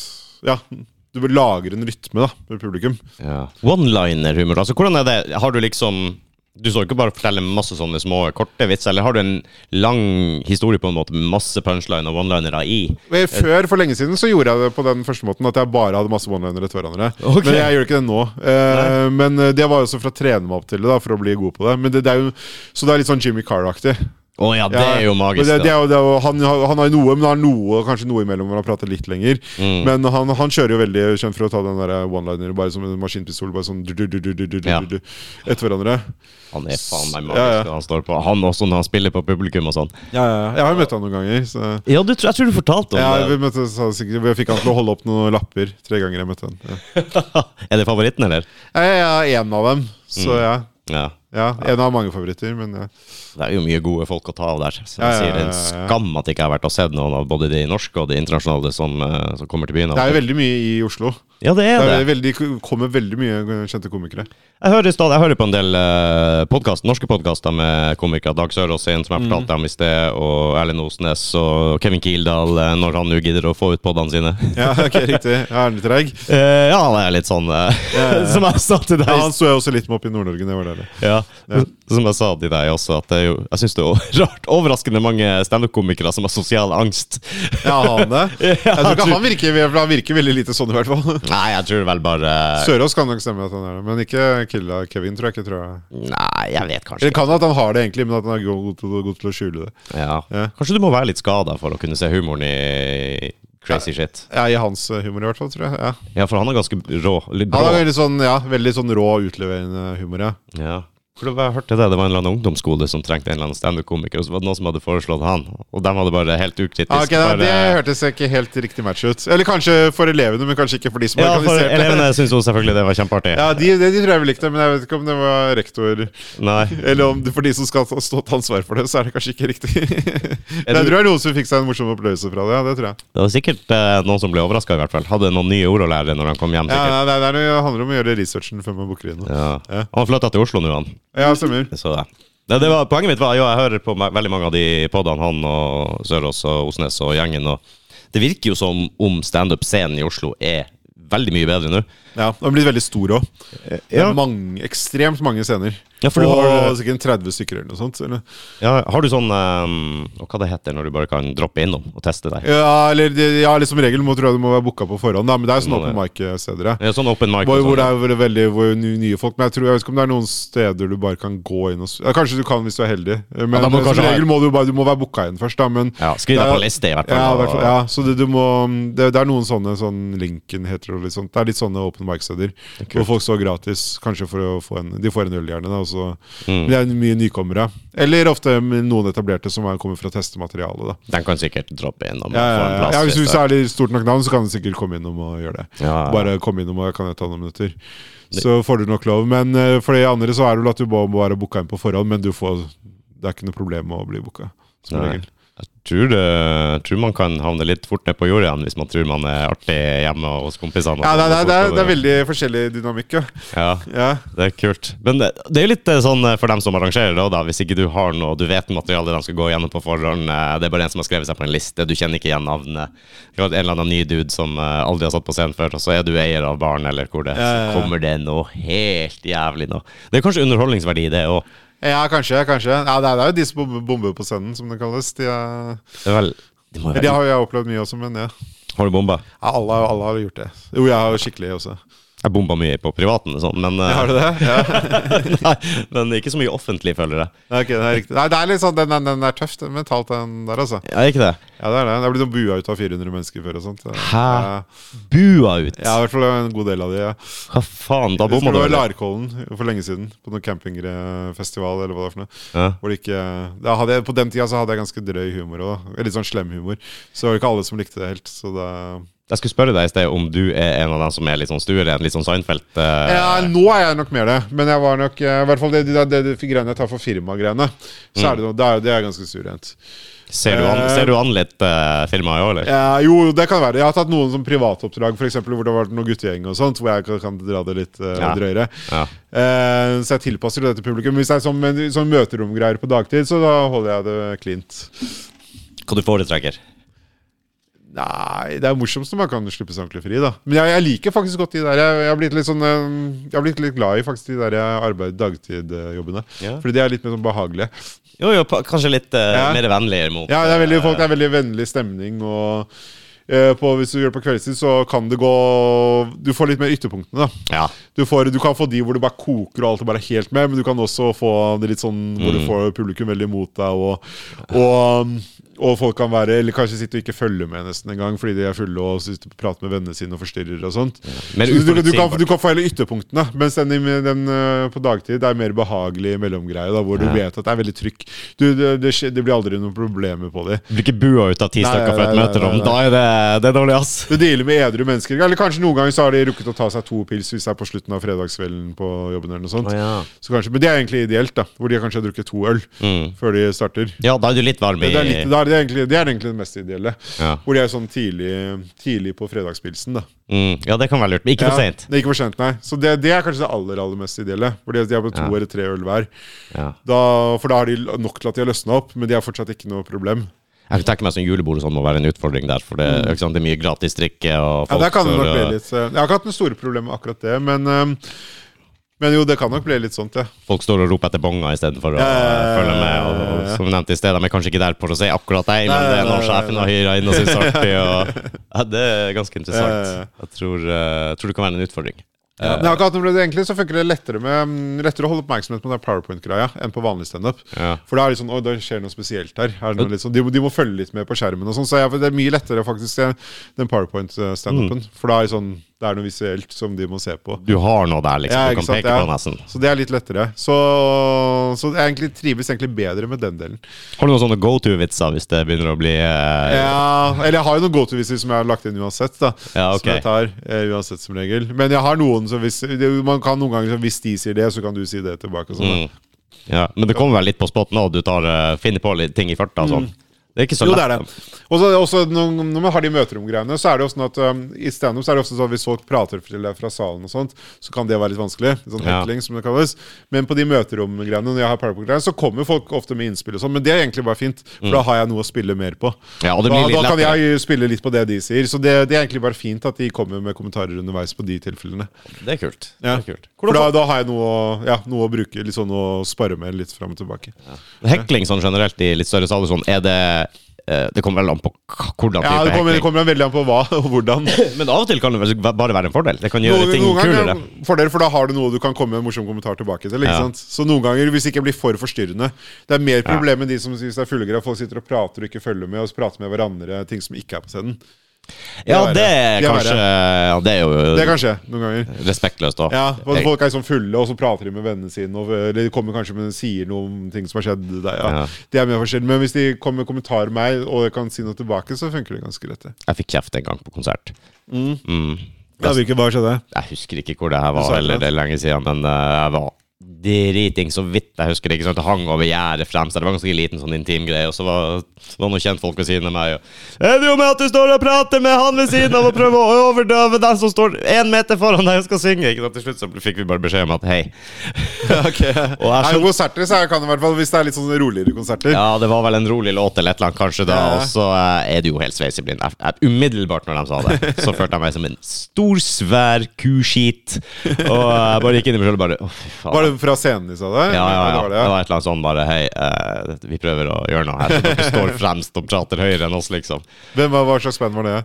Ja, du bør lagre en rytme da med publikum.
ja. One-liner-humor. Altså, hvordan er det? Har du liksom Du skal jo ikke bare fortelle masse sånne små, korte vitser, eller har du en lang historie på en måte med masse punchline og one-linere i?
Men Eh, Før, for lenge siden, så gjorde jeg det på den første måten. At jeg bare hadde masse one-linere til hverandre.
Ok.
Men jeg gjør ikke det nå. Eh, men eh, det var jo også for å trene meg opp til det, da, for å bli god på det. Men det, det er jo, så det er litt sånn Jimmy Carr-aktig.
Å ja, det er jo magisk.
Men Det, det
da.
er jo, det er jo, han, har- han har jo noe, men han har noe, kanskje noe imellom hvor han prater litt lenger.
Mm.
Men han, han kjører jo veldig kjent for å ta den der one-liner bare som en maskinpistol. Bare sånn du, du, du, du, du, du,
Ja.
du, du, etter hverandre.
Han er faen
Ja,
meg magisk,
ja.
det han står på. Han også når han spiller på publikum og sånn.
Ja, ja, ja. Jeg har jo møtt han noen ganger. Så.
Ja, du, tror- jeg tror du fortalte om
Ja, vi
det.
møttes, han sikkert- jeg fikk han til å holde opp noen lapper tre ganger jeg møtte han. Ja.
er det favoritten, eller?
Jeg er én av dem, så ja.
Mm. Ja.
ja. En av mange favoritter, men ja.
Det er jo mye gode folk å ta av der. Så jeg
Ja, ja,
sier det er en
ja, ja, ja.
skam at jeg ikke har vært og sett noen av både de norske og de internasjonale som, eh, som kommer til byen.
Det er jo veldig mye i Oslo.
ja, det
Det,
er det.
er veldig, kommer veldig mye kjente komikere.
Jeg hører, i stedet- jeg hører på en del eh, podcast, norske podkaster med komikere. Dag Sørås, en som
Mm.
jeg fortalte om i sted, og Erlend Osnes og Kevin Kildahl, eh, når han nå gidder å få ut podene sine.
Ja, ok, riktig. Jeg er litt treig.
Eh, ja, han er litt sånn eh, Som jeg sa til deg
Ja, han så jeg også litt med opp i Nord-Norge. når jeg var der.
ja, Som jeg sa til deg også, at det er jo, jeg syns det er rart overraskende mange standup-komikere som har sosial angst.
Ja, har han det? Jeg tror ikke
tror-
han virker, for han virker veldig lite sånn, i hvert fall.
Nei, jeg tror vel bare
Sørås kan nok stemme at han er det, men ikke Killa Kevin, tror jeg ikke. tror jeg.
Nei, jeg vet kanskje
Eller kan at han har det, egentlig, men at han er god til, god til å skjule det.
ikke. Ja. Kanskje du må være litt skada for å kunne se humoren i crazy shit.
Ja, I hans eh, humor, i hvert fall, tror jeg. Ja.
Ja, for han er ganske rå. Litt
Han har
brå.
veldig sånn, ja, veldig sånn rå, utleverende humor, ja.
Ja. For det var- jeg hørte det, det var en eller annen ungdomsskole som trengte en eller annen standup-komiker, og så var det noen som hadde foreslått han, og de hadde bare helt ukritisk
Ja, Ah, ok, da,
bare-
Det hørtes ikke helt riktig match ut. Eller kanskje for elevene, men kanskje ikke for de som
Ja, for
organiserte.
elevene syntes jo selvfølgelig det var kjempeartig.
Ja, de, de, de tror jeg vi likte, men jeg vet ikke om det var rektor
Nei.
Eller om det, for de som skal ta- stå til ansvar for det, så er det kanskje ikke riktig. Men
tror-
jeg tror det er noen som fikk seg en morsom opplevelse fra det. ja, det tror jeg.
Det var sikkert eh, noen som ble overraska, i hvert fall. Hadde noen nye ord å lære når han kom hjem.
Ja,
sikkert.
nei, nei, det, er noe, det handler om å gjøre researchen før man booker inn.
Ja. Han flytta til Oslo nå, han.
Ja, stemmer.
Så det. Det, det var, poenget mitt var jo, jeg hører på me- veldig mange av de podene, han og Sørås og Osnes og gjengen, og det virker jo som om standup-scenen i Oslo er veldig mye bedre nå.
Ja, Den har blitt veldig stor òg.
ja.
Mange, ekstremt mange scener.
Ja, for du
og
har-
sikkert en 30 stykker eller noe sånt. Eller?
Ja, har du sånn ehm, Og hva det heter når du bare kan droppe innom og teste deg?
Ja, eller de- ja, eller som regel må, tror jeg du må være booka på forhånd, da, men det er jo sånn
Må det.
open mic-steder. ja.
Det er Sånn open mic.
Hvor,
og
hvor det
sånn.
er vel veldig hvor ny- nye folk. Men jeg, tror, jeg vet ikke om det er noen steder du bare kan gå inn og s- ja, Kanskje du kan hvis du er heldig, eh, men
da må du
som
kanskje ha-
regel må du, bare, du må være booka inn først. Da, men
Ja, skriv
det
deg
er-
på liste, i hvert fall.
Ja, i hvert fall, ja, så det, du må, det, det er noen sånne sånn Lincoln heter det, og litt sånt. Det er litt sånne open mic-steder. Hvor folk står gratis, kanskje for å få en De får en øl, gjerne. Da, og så-
Mm.
Men Det er mye nykommere. Eller ofte med noen etablerte som er- kommer fra testematerialet. Da.
Den kan sikkert droppe innom. og
Ja,
få
ja,
en
ja.
plass
ja, hvis,
hvis
hvis
det-
det er litt stort nok navn, så kan du sikkert komme innom og gjøre det.
Ja, ja.
Bare komme innom, og jeg kan jeg ta noen minutter. Så får du nok lov. Men eh, for de andre så er det vel at du må må være booka inn på forhånd, men du får, det er ikke noe problem med å bli booka. Som
Nei.
regel.
Jeg tror, det, tror man kan havne litt fort ned på jordet igjen hvis man tror man er artig hjemme hos kompisene. og
Ja, det, er-
sånn,
det,
og
er- det, er,
fortover.
det er veldig forskjellig dynamikk, ja.
Ja,
ja.
det er kult. Men det, det er jo litt eh, sånn eh, for dem som arrangerer, da, da, hvis ikke du har noe Du vet materialet de skal gå gjennom på forhånd. eh, Det er bare en som har skrevet seg på en liste, du kjenner ikke igjen navnet. Det kan være En eller annen ny dude som eh, aldri har satt på scenen før, og så er du eier av baren, eller hvor det er.
Ja, ja,
Så
ja.
kommer det noe helt jævlig nå. Det er kanskje underholdningsverdi, det òg.
Ja, kanskje. kanskje Ja, Det er, det er jo de som bom- bomber på scenen, som det kalles. De, er,
Vel, det må jo
de
være
har jo jeg opplevd mye også, men ja.
Har du bomba?
ja alle, alle har gjort det. Jo, jeg har jo skikkelig også.
Jeg bomba mye på privaten, sånn, men eh,
Har du det? Ja.
Nei, men ikke så mye offentlig, føler jeg.
Ja, ok, det er riktig Nei, det er litt sånn, den, den, den er tøff, den mentalt, den der, altså.
Er ikke det?
Ja, det er det. Det er blitt noen bua ut av 400 mennesker før og sånt. Ja,
Hæ? Bua ut!
Ja, i hvert fall en god del av de. Ja.
Hva faen, da
Jeg
bomma
husker
du.
det var i
eller?
Larkollen for lenge siden, på noen campingfestival eller hva det er for noe.
Ja.
Hvor det ikke, da hadde jeg, på den tida så hadde jeg ganske drøy humor òg, litt sånn slem humor. Så det var ikke alle som likte det helt. Så det
Jeg skulle spørre deg i sted om du er en av dem som er litt sånn stueren, litt sånn Seinfeld. eh,
ja, Nå er jeg nok mer det, men jeg var nok eh, I hvert fall det, det, det, det greiene jeg tar for firmagreiene, så
Mm.
er det, noe- det, er, det er ganske surrent.
ser, du an,
eh,
ser du an litt uh, filmer i år, eller?
Ja, jo, det kan være. Jeg har tatt noen som privatoppdrag, for eksempel, hvor det har vært noen guttegjeng og sånt, hvor jeg kan, kan dra det litt eh,
Ja.
drøyere.
Ja.
Eh, så jeg tilpasser det til publikum. Hvis det er sånn, men, sånn møteromgreier på dagtid, så da holder jeg det cleant.
Hva du foretrekker?
Nei, det er morsomt når man kan slippe seg ordentlig fri, da. Men jeg, jeg liker faktisk godt de der Jeg, jeg har blitt litt sånn eh, Jeg har blitt litt glad i faktisk de der eh, arbeid dagtidjobbene.
Ja.
Fordi de er litt mer sånn behagelige.
Jo, jo, pa- kanskje litt eh,
Ja.
mer vennligere mot eh,
Ja, det er veldig, folk det er veldig vennlig stemning. Og eh, på, hvis du gjør det på kveldstid, så kan det gå Du får litt mer ytterpunktene, da.
Ja.
Du, får, du kan få de hvor du bare koker og alt er bare helt med, men du kan også få det litt sånn hvor du får publikum veldig mot deg, og, og, og folk kan være Eller kanskje sitte og ikke følge med nesten engang fordi de er fulle og sitter og prater med vennene sine og forstyrrer og sånt.
Mer
Så du, du, kan,
uforutsigbart.
du kan få hele ytterpunktene, mens den, i- den eh, på dagtid det er mer behagelig mellomgreie, da, hvor du vet at det er veldig trykk. Du, det, det, skje- det blir aldri noen problemer på det.
Blir ikke bua ut av ti
Nei,
stykker
nei,
fra et
nei,
møterom.
nei,
Da er det, det er dårlig, ass.
Det dealer med edru mennesker. Eller kanskje noen ganger så har de rukket å ta seg to pils hvis det er på slutten av fredagskvelden på jobben. eller noe sånt
Å, ja.
så kanskje, Men det er egentlig ideelt, da hvor de kanskje har drukket to øl
Mm.
før de starter.
Ja, da er du litt varm i
Det er, litt, da er det, egentlig, det er egentlig det mest ideelle.
Ja.
Hvor de er sånn tidlig, tidlig på fredagspilsen. da
mm, ja, det kan være lurt. Men ikke for
Ja,
seint.
Det er ikke for sent, nei. Så det, det er kanskje det aller aller mest ideelle. Hvor de, de er på to eller tre øl hver.
Ja.
Da, for da har de nok til at de har løsna opp, men de har fortsatt ikke noe problem.
Jeg kan tenke meg sånn julebord og sånn må være en utfordring der, for det, ikke sant, det er mye gratis drikke
Mm.
og
Ja,
folk
der kan det
står
nok bli
og-
litt eh, Jeg har ikke hatt noe store problemer med akkurat det, men ehm, Men jo, det kan nok bli litt sånt, ja.
Folk står og roper etter bonger istedenfor å
Ja, ja,
eh,
ja,
følge med.
ja,
Og,
ja,
og, som nevnt i sted, de er kanskje ikke der for å si akkurat deg, men
Nei,
det er
nei,
noe
nei,
sjefen har hyra inn og syns er artig. Og, ja, det er ganske
Ja, ja, ja.
interessant. Jeg tror, eh, jeg tror det kan være en utfordring.
Ja. Men jeg har ikke hatt noe problem. Egentlig så funker det lettere med mm, Lettere å holde oppmerksomhet på den powerpoint-greia enn på vanlig standup.
Ja.
For da er det sånn Oi, da skjer noe spesielt her. her er det noe litt sånn, de, må- de må følge litt med på skjermen og sånn. Så jeg, det er mye lettere faktisk eh, den
Mm.
powerpoint-standupen. For da er det sånn Det er noe visuelt som de må se på.
Du har noe der, liksom.
Ja,
du
ikke
kan
sant,
peke
ja.
på nesten.
Så det er litt lettere. Så, så jeg egentlig trives egentlig bedre med den delen.
Har du noen sånne go to-vitser hvis det begynner å bli eh,
Ja, eller jeg har jo noen go-to-viser som jeg har lagt inn uansett. da
Ja, ok.
Som jeg tar eh, uansett som regel Men jeg har noen som hvis det, Man kan noen ganger så Hvis de sier det, så kan du si det tilbake. og Sånn, da.
Mm. Ja, men det kommer vel litt på spotten òg. Du tar, eh, finner på litt ting i farta og sånn. Det er ikke så
Mm. Jo,
lett.
det er det. Og så er det også når, når man har de møteromgreiene, så er det jo sånn at um, i standup så er det ofte sånn at hvis folk prater til deg fra salen og sånt, så kan det være litt vanskelig. Sånn
Ja.
heckling, som det kalles. Men på de møteromgreiene, når jeg har powerpoint-greier, så kommer folk ofte med innspill og sånn, men det er egentlig bare fint, for da har jeg noe å spille mer på.
Mm. Ja, og det
da,
blir
da
litt
kan
lettere.
jeg spille litt på det de sier, så det, det er egentlig bare fint at de kommer med kommentarer underveis på de tilfellene.
Det er kult.
Ja.
Det er kult.
For da, da har jeg noe, å- ja, noe å bruke, litt sånn å spare med litt fram og tilbake.
Hekling sånn generelt i litt større saler, sånn, er det eh, Det kommer vel an på k- hvordan
Ja,
type
det kommer, det
hekling.
kommer veldig an på hva og hvordan.
Men av og til kan det vel bare være en fordel. Det kan gjøre
Noen-
ting
noen ganger
kulere.
er det en Fordel, for da har du noe du kan komme med en morsom kommentar tilbake til. Ikke
Ja.
sant? Så noen ganger, hvis det ikke blir for forstyrrende Det er mer problem med de som synes det er fullere, at folk sitter og prater og ikke følger med, og så prater med hverandre ting som ikke er på scenen.
Ja,
verre.
det er
Det er
kanskje ja, Det er jo
Det kan skje noen ganger.
respektløst, da.
Ja, for
Jeg-
Folk er sånn fulle, og så prater de med vennene sine. Og, eller de kommer kanskje med sier noe om ting som har skjedd. Der, ja.
Ja.
Det er mer forskjellig. Men hvis de kommer med kommentarer med meg, og jeg kan si noe tilbake, så funker det ganske greit. det.
jeg fikk kjeft en gang på konsert. Mm.
Ja, hvilket hva skjedde?
Jeg husker ikke hvor det her var,
sa
eller
det.
det er lenge siden, men eh, jeg var driting så vidt jeg husker. ikke sant? Det hang over gjerdet fremst. Det var en ganske liten sånn intim greie. Og så var, så var det noen kjentfolk ved siden av meg. Og er det jo med at du står og prater med han ved siden av og prøver å overdøve den som står én meter foran deg og skal synge? ikke sant? Til slutt så fikk vi bare beskjed om at hei. Og jeg
Nei,
skjønte
konserter så kan det i hvert fall, hvis det er litt sånn roligere konserter.
ja, det var vel en rolig låt eller et eller annet kanskje da,
Ja.
og så eh, er du jo helt sveiseblind. Jeg- jeg- Umiddelbart når de sa det, så følte jeg meg som en stor, svær kuskit. Og jeg bare gikk inn i meg selv og bare Å, fy faen.
Var det fra scenen de sa det?
Ja, ja, ja.
Det var
Det
det, ja.
var et eller annet sånn bare Hei, eh, vi prøver å gjøre noe her, så dere står fremst og prater høyere enn oss, liksom.
Hvem var, hva slags band var det?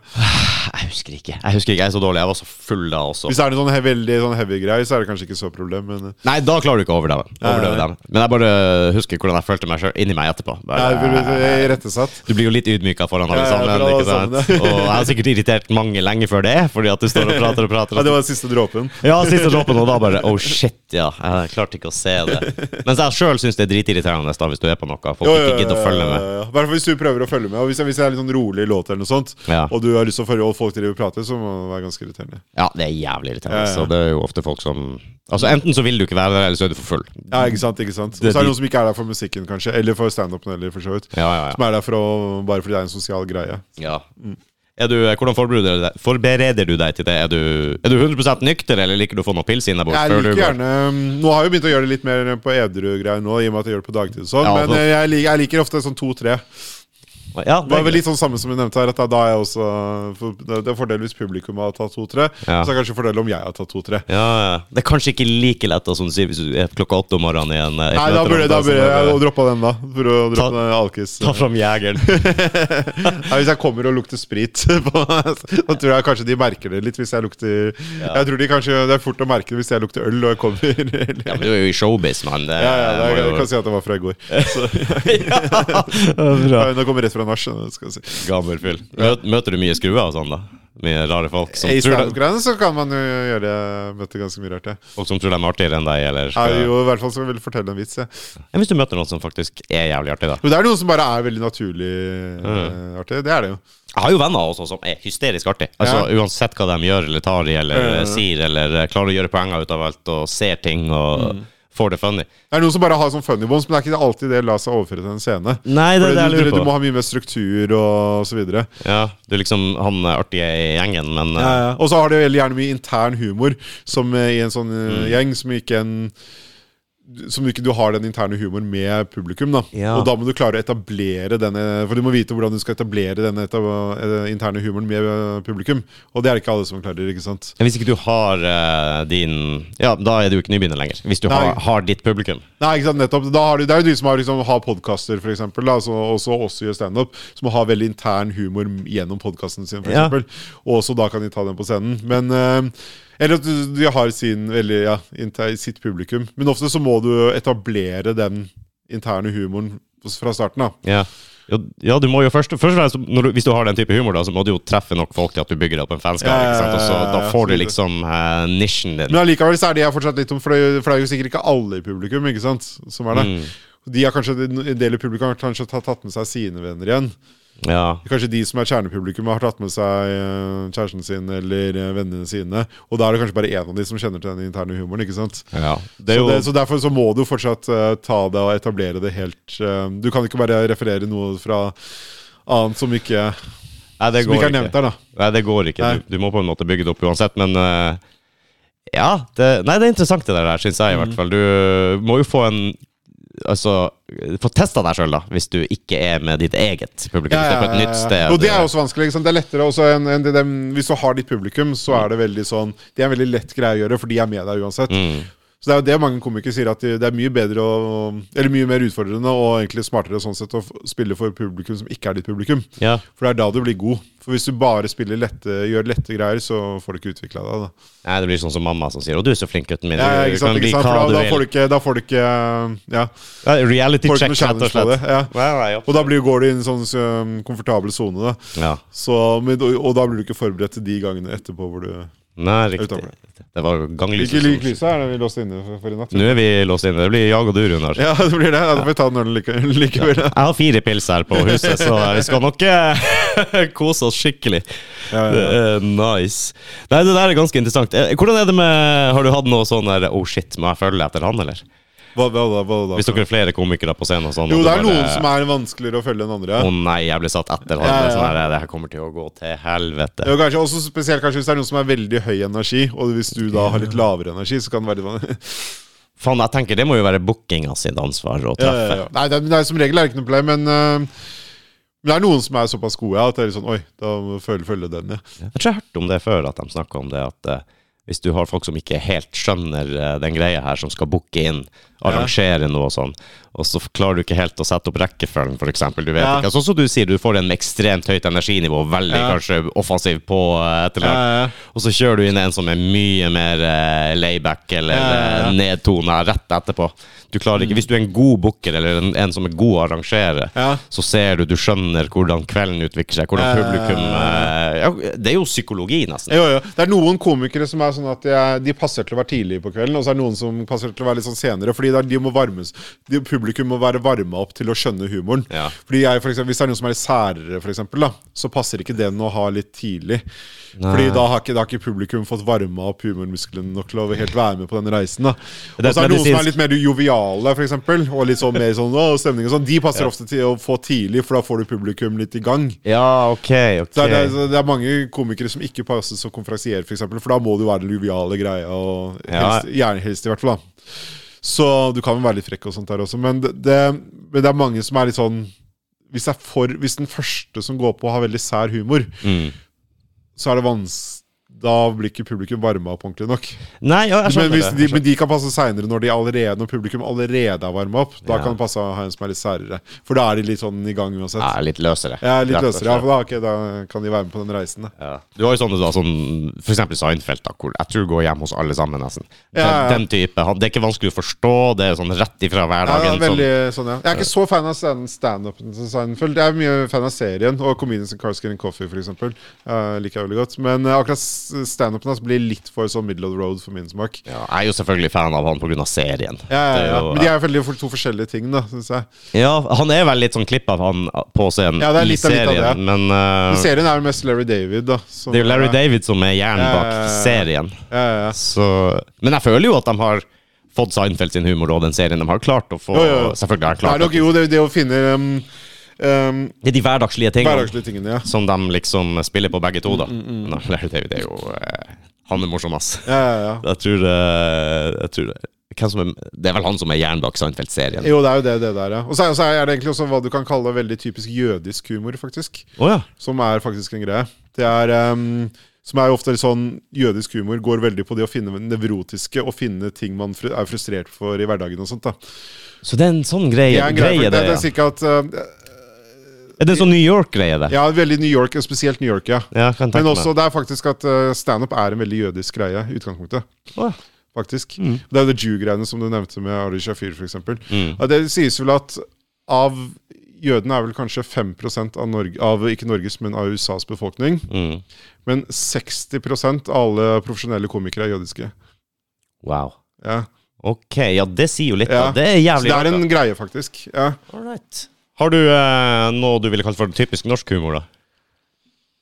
Jeg husker ikke. Jeg husker ikke, jeg er så dårlig. Jeg var så full da også.
Hvis det er noen sånn he veldig sånn heavy greier, så er det kanskje ikke så problem. Men eh,
Nei, da klarer du ikke å overdøve, overdøve
Nei.
dem. Men jeg bare husker hvordan jeg følte meg selv inni meg etterpå. Bare,
Nei, det blir rettesatt.
Du blir jo litt ydmyka foran alle
Ja, ja,
sammen.
for alle
ikke sant?
sammen,
og jeg har sikkert irritert mange lenge før det, fordi at du står og prater og prater.
Ja, det
Og
var den siste dråpen.
ja, siste dråpen, og da bare Oh shit, ja. Jeg klarte ikke å se det. Mens jeg sjøl syns det er dritirriterende da, hvis du er på noe folk
Jo, jo, jo,
ikke gidder å følge med.
jo, jo. I hvert fall hvis du prøver å følge med. Og hvis, hvis det er litt sånn rolig låt, eller noe sånt,
Ja.
og du har lyst til å følge og folk driver og prater, så må det være ganske irriterende.
Ja, det er jævlig irriterende.
Ja, ja.
Så det er jo ofte folk som Altså, enten så vil du ikke være der, eller så er du for full.
Ja, ikke sant, ikke sant. Og så
Mm. Det-
er det noen som ikke er der for musikken, kanskje. Eller for standupen heller, for så vidt.
Ja, ja, ja.
Som er der for å, bare fordi det er en sosial greie.
ja.
Mm.
Er du, hvordan forbereder du, deg, forbereder du deg til det? Er du, er du 100 nykter, eller liker du å få noe pils innabords?
Jeg
før du
liker
går?
gjerne mm, Nå har jeg jo begynt å gjøre det litt mer på edru-greier nå, i og med at jeg gjør det på dagtid og sånn,
Ja,
men
for-
eh, jeg liker, jeg liker ofte sånn to-tre.
Ja,
Det
det
er
er
vel
greit.
litt sånn samme som vi nevnte her, at da er jeg også for Det det er fordel hvis publikum har tatt to-tre.
Ja.
Så er det kanskje fordel om jeg har tatt to-tre.
Ja, ja. Det er kanskje ikke like lett da, som du sier, hvis du er klokka åtte om morgenen i en eh, et
Nei, da
møterom,
burde, da
så
burde
bare-
jeg droppa den, da. For å
Ta-
droppe den alkis.
Ta fram jegeren.
Nei, hvis jeg kommer og lukter sprit, på, da tror jeg kanskje de merker det litt. Hvis jeg lukter Jeg tror de kanskje Det er fort å merke det hvis jeg lukter øl og jeg kommer
Ja, men du er jo i showbiz, mann. Det
Ja, ja, det
må
er, jeg
jo-
kan si at det var fra i går.
Ja, bra.
Ja, Nå kommer jeg rett fra nach. Skal jeg si.
Gammel fyll. Mø- Møter du mye skruer og sånn, da? Mye rare folk som,
I
tror de,
standup-greiene så kan man jo gjøre jeg møtte ganske mye rart, jeg.
folk som tror de er artigere enn deg, eller
Jeg er
skal...
jo i hvert fall som vil fortelle en vits, jeg.
Men Hvis du møter noen som faktisk er jævlig artig, da.
Men det er noen som bare er veldig naturlig eh, artig. Det er det jo.
Jeg har jo venner også som er hysterisk artig. Altså, Uansett hva de gjør eller tar i eller eh, sier, eller eh, klarer å gjøre poenger ut av alt og ser ting og
Mm.
får det funny.
Det er noen som bare har sånn funny bones, men det er ikke alltid det lar seg overføre til en scene.
Nei, det er
Fordi
det jeg
du,
lurer
du,
på.
du må ha mye mer struktur og så videre.
Ja, Du er liksom han eh, artige i gjengen, men eh,
Og så har de veldig gjerne mye intern humor, som eh, i en sånn
Mm.
eh, gjeng som ikke en som ikke du har den interne humoren med publikum. da
Ja.
Og da må du klare å etablere denne For du må vite hvordan du skal etablere denne eta eh, interne humoren med eh, publikum. Og det er det ikke alle som klarer. ikke sant?
Hvis ikke du har eh, din Ja, da er du jo ikke nybegynner lenger. Hvis du
Nei.
har, har ditt publikum.
Nei, ikke sant, nettopp. Da har du, det er jo de som har, liksom, har podkaster, f.eks., altså, og så også gjør standup, som har veldig intern humor m- gjennom podkasten sin, f.eks.
Ja.
eksempel Og så da kan de ta den på scenen. Men eh, Eller at du- de har sin, veldig, ja, inter, sitt publikum. Men ofte så må du etablere den interne humoren s- fra starten av.
Ja. Jo, ja, du må jo først, først og fremst når du, Hvis du har den type humor, da, så må du jo treffe nok folk til at du bygger opp en fanskap.
Ja, ja,
ikke sant? Og så,
ja, ja,
da
ja,
får du
absolutt.
liksom eh, nisjen din.
Men allikevel så er det jeg fortsatt litt om, for det, for det er jo sikkert ikke alle i publikum ikke sant, som er det. De har kanskje, En del i publikum har kanskje tatt- tatt med seg sine venner igjen.
Ja.
Kanskje de som er kjernepublikum har tatt med seg eh, kjæresten sin eller eh, vennene sine. Og da er det kanskje bare én av de som kjenner til den interne humoren. ikke sant?
ja. Det
så,
er jo
det, så derfor så må du fortsatt eh, ta det og etablere det helt eh, Du kan ikke bare referere noe fra annet som ikke,
Nei, det
som
går
ikke er nevnt der, da.
Nei, det går ikke.
Nei.
Du, du må på en måte bygge det opp uansett, men eh, Ja. Det, nei, det er interessant det der, syns jeg i
Mm.
hvert fall. Du eh, må jo få en Altså, få testa deg sjøl, da, hvis du ikke er med ditt eget publikum. Hvis det er på et nytt sted. eh,
Og det er også vanskelig. Ikke sant? Det er lettere også enn enn det dem, Hvis du har ditt publikum, så er det veldig sånn Det er en veldig lett greie å gjøre, for de er med deg uansett.
Mm.
Så det er jo det mange komikere sier, at de- det er mye bedre å, eller mye mer utfordrende og egentlig smartere sånn sett å f- spille for publikum som ikke er ditt publikum.
Ja.
For det er da du blir god. For hvis du bare spiller lette, gjør lette greier, så får du ikke utvikla deg. Da.
Nei, det blir sånn som mamma som sier 'Å, du er så flink, gutten min'.
Ja,
Du
ikke sant, ikke
kan bli
sant? For
hva
da,
du
da får
vil.
du ikke, da får du ikke Ja.
Ja, reality
Får du ikke noe
check, rett og
challenge på
slett.
det. Ja.
Nei, nei,
Og da blir, går du inn i en sånn øhm, komfortabel sone. da.
Ja.
Så, men, og, og da blir du ikke forberedt til de gangene etterpå hvor du
Nei, riktig.
Utenfor.
Det var ganglyset.
Ikke
som-
lik lyset er det vi låste inne for, for i natt.
Nå er vi låst inne. Det blir jag og du, Runar.
Ja, det blir det. Ja, Da får vi ta den ølen like, likevel.
Jeg har fire pils her på huset, så vi skal nok eh, kose oss skikkelig. Det er nice. Nei, det der er ganske interessant. Eh, Hvordan er det med Har du hatt noe sånn der Oh shit, må jeg følge etter han, eller?
Hva, hva, hva, hva, da?
Hvis dere er flere komikere på scenen og sånn.
Jo,
og
det er
du bare,
noen som er vanskeligere å følge enn andre.
Å nei, jeg ble satt etter han.
Ja,
Det er
ja.
Sånn her, det her kommer til å gå til helvete.
Ja, og kanskje, også spesielt kanskje hvis det er noen som er veldig høy energi, og hvis du da har litt lavere energi, så kan det være litt vanskelig.
Faen, jeg tenker det må jo være bookinga sitt ansvar å
Ja,
treffe.
ja, ja. Nei, det, er- men det er, som regel er det ikke noe problem, men øh, men det er noen som er såpass gode ja, at det er litt sånn Oi, da må du følge, følge den, ja.
Jeg tror jeg har hørt om det før, at de snakker om det at eh, hvis du har folk som ikke helt skjønner eh, den greia her, som skal booke inn, arrangere noe og sånn, og så klarer du ikke helt å sette opp rekkefølgen, f.eks. Du vet
Ja.
ikke. Sånn som du sier, du får en med ekstremt høyt energinivå, veldig
Ja.
kanskje offensiv på eh, et eller annet, og så kjører du inn en som er mye mer eh, layback eller
Ja, ja, ja.
eh, nedtona rett etterpå. Du klarer ikke, Hvis du er en god booker eller en, en som er god arrangerer,
Ja.
så ser du, du skjønner hvordan kvelden utvikler seg, hvordan
Ja, ja, ja,
publikum eh, ja, Det er jo psykologi, nesten.
Jo, jo. Det er noen komikere som er sånn at de, er, de passer til å være tidlig på kvelden, og så er det noen som passer til å være litt sånn senere. Fordi det er, de må varmes de, Publikum må være varma opp til å skjønne humoren.
Ja.
Fordi jeg, for eksempel, Hvis det er noen som er litt særere, for eksempel, da, så passer ikke den å ha litt tidlig. Fordi da har, ikke, da har ikke publikum fått varma opp humormusklene nok til å helt være med på den reisen. da
Det er
Og så er det noen som
medisinsk-
er litt mer joviale, for eksempel, og litt sånn mer sånn å, stemning og sånn. De passer ofte til å få tidlig, for da får du publikum litt i gang.
Ja, ok, ok.
Så er det, så det er mange komikere som ikke passer som konferansier, for, eksempel, for da må du være den luviale greia. Og
Ja.
helst, gjerne helst, i hvert fall. da Så du kan jo være litt frekk og sånt der også, men det, det, men det er mange som er litt sånn hvis, det er for, hvis den første som går på, har veldig sær humor,
Mm.
så er det vanskelig Da blir ikke publikum varma opp ordentlig nok.
Nei, ja, jeg
Men,
skjønner
hvis
det.
de,
Jeg skjønner.
men de kan passe seinere, når, de allerede- når publikum allerede er varma opp. Da
Ja.
kan det passe å ha en som er litt særere. For da er de litt sånn i gang uansett.
Ja, litt løsere.
Ja, litt
rett og
løsere. Ja,
slett.
for da, ok, da kan de være med på den reisen. Da.
Ja. Du har jo sånne da, sånn, for eksempel Seinfeld, da, hvor jeg tror går hjem hos alle sammen, nesten. Den,
Ja, ja.
den type. Han, det er ikke vanskelig å forstå, det er sånn rett ifra
Ja, det
hverdagen.
er veldig sånn, ja. Jeg er ikke så fan av stand- standupen til Seinfeld. Jeg er mye fan av serien og Comedians in Cars Getting Coffee, f.eks. Uh, liker jeg veldig godt. Men eh, akkurat s- standupen hans blir litt for sånn middle of the road for min smak.
sånn, ja, jeg er jo selvfølgelig fan av han pga. serien.
Ja, ja,
Det er
ja.
jo,
Men de er veldig for to forskjellige ting, da, syns jeg.
ja, han er vel litt sånn klipp av han på scenen
Ja, det er
i
litt av- litt av
serien,
det.
men eh,
Men serien er jo mest Larry David, da. som-
det er jo Larry David som er hjernen
Ja,
bak
ja, ja.
serien.
Ja, ja, ja.
Så, men jeg føler jo at de har fått Seinfeld sin humor og den serien. De har klart å få
Jo, jo, jo.
Selvfølgelig har de
Det er
klart
nok jo det, det å finne um, um,
det. er de hverdagslige tingene.
hverdagslige Mm, tingene, ja.
som de liksom spiller på begge to, da. Men Larry David er jo eh, Han er morsom, ass.
Ja, ja, ja.
Jeg tror, eh, jeg tror hvem som er, Det er vel han som er hjernen bak Seinfeld-serien? Å
Jo, det er jo det, det der, ja. Og så er, så er det egentlig også hva du kan kalle veldig typisk jødisk humor, faktisk.
ja.
Som er faktisk en greie. Det er ehm, Som er jo ofte litt sånn Jødisk humor går veldig på det å finne nevrotiske og finne ting man fru- er frustrert for i hverdagen og sånt. da
Så det er en sånn greie,
Det er en greie, for
greie
det,
det,
det er
ja.
cirka at eh,
Er det en sånn New York-greie, det?
Ja, veldig New York, eh, spesielt New York, ja.
Ja, kan tenke
Men
meg.
også det er faktisk at eh, standup er en veldig jødisk greie i utgangspunktet.
Å, ja.
faktisk. Det er jo det Jew-greiene som du nevnte med Ari Shafir, f.eks.
Mm.
Ja, Det sies vel at av jødene er vel kanskje 5 av, Norge, av ikke Norges, men av USAs befolkning.
Mm.
Men 60 av alle profesjonelle komikere er jødiske.
Wow.
Ja.
Ok, ja, det sier jo litt. da.
Ja.
Det er
Så
jævlig
det er
rart,
en greie, faktisk. Ja.
da. All right. Har du eh, noe du ville kalt for typisk norsk humor, da?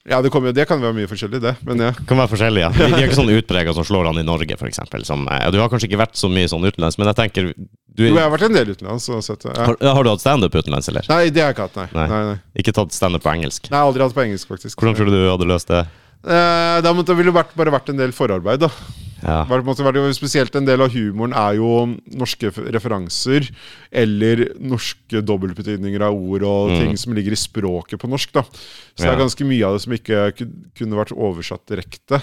Ja, det, kommer, jo- det kan være mye forskjellig, det. Men ja.
Kan være forskjellige. ja. De, de er ikke sånn utprega som slår an i Norge, f.eks. eh, Ja, du har kanskje ikke vært så mye sånn utenlands, men jeg tenker du,
Jo, jeg har vært en del utenlands. Og sett, det. ja.
Har, ja, har du hatt standup utenlands, eller?
Nei, det har jeg ikke hatt, nei.
Nei.
Nei. Nei, nei.
Ikke tatt standup på engelsk?
Jeg har aldri hatt på engelsk, faktisk.
Hvordan tror du du hadde løst det?
Eh, da måtte det ville vært, bare vært en del forarbeid, da.
Ja.
Hva er det på en måte- hva er det- Spesielt en del av humoren er jo norske f- referanser eller norske dobbeltbetydninger av ord og ting som ligger i språket på norsk. da Så det
Mm. Ja.
er ganske mye av det som ikke ku- kunne vært oversatt direkte.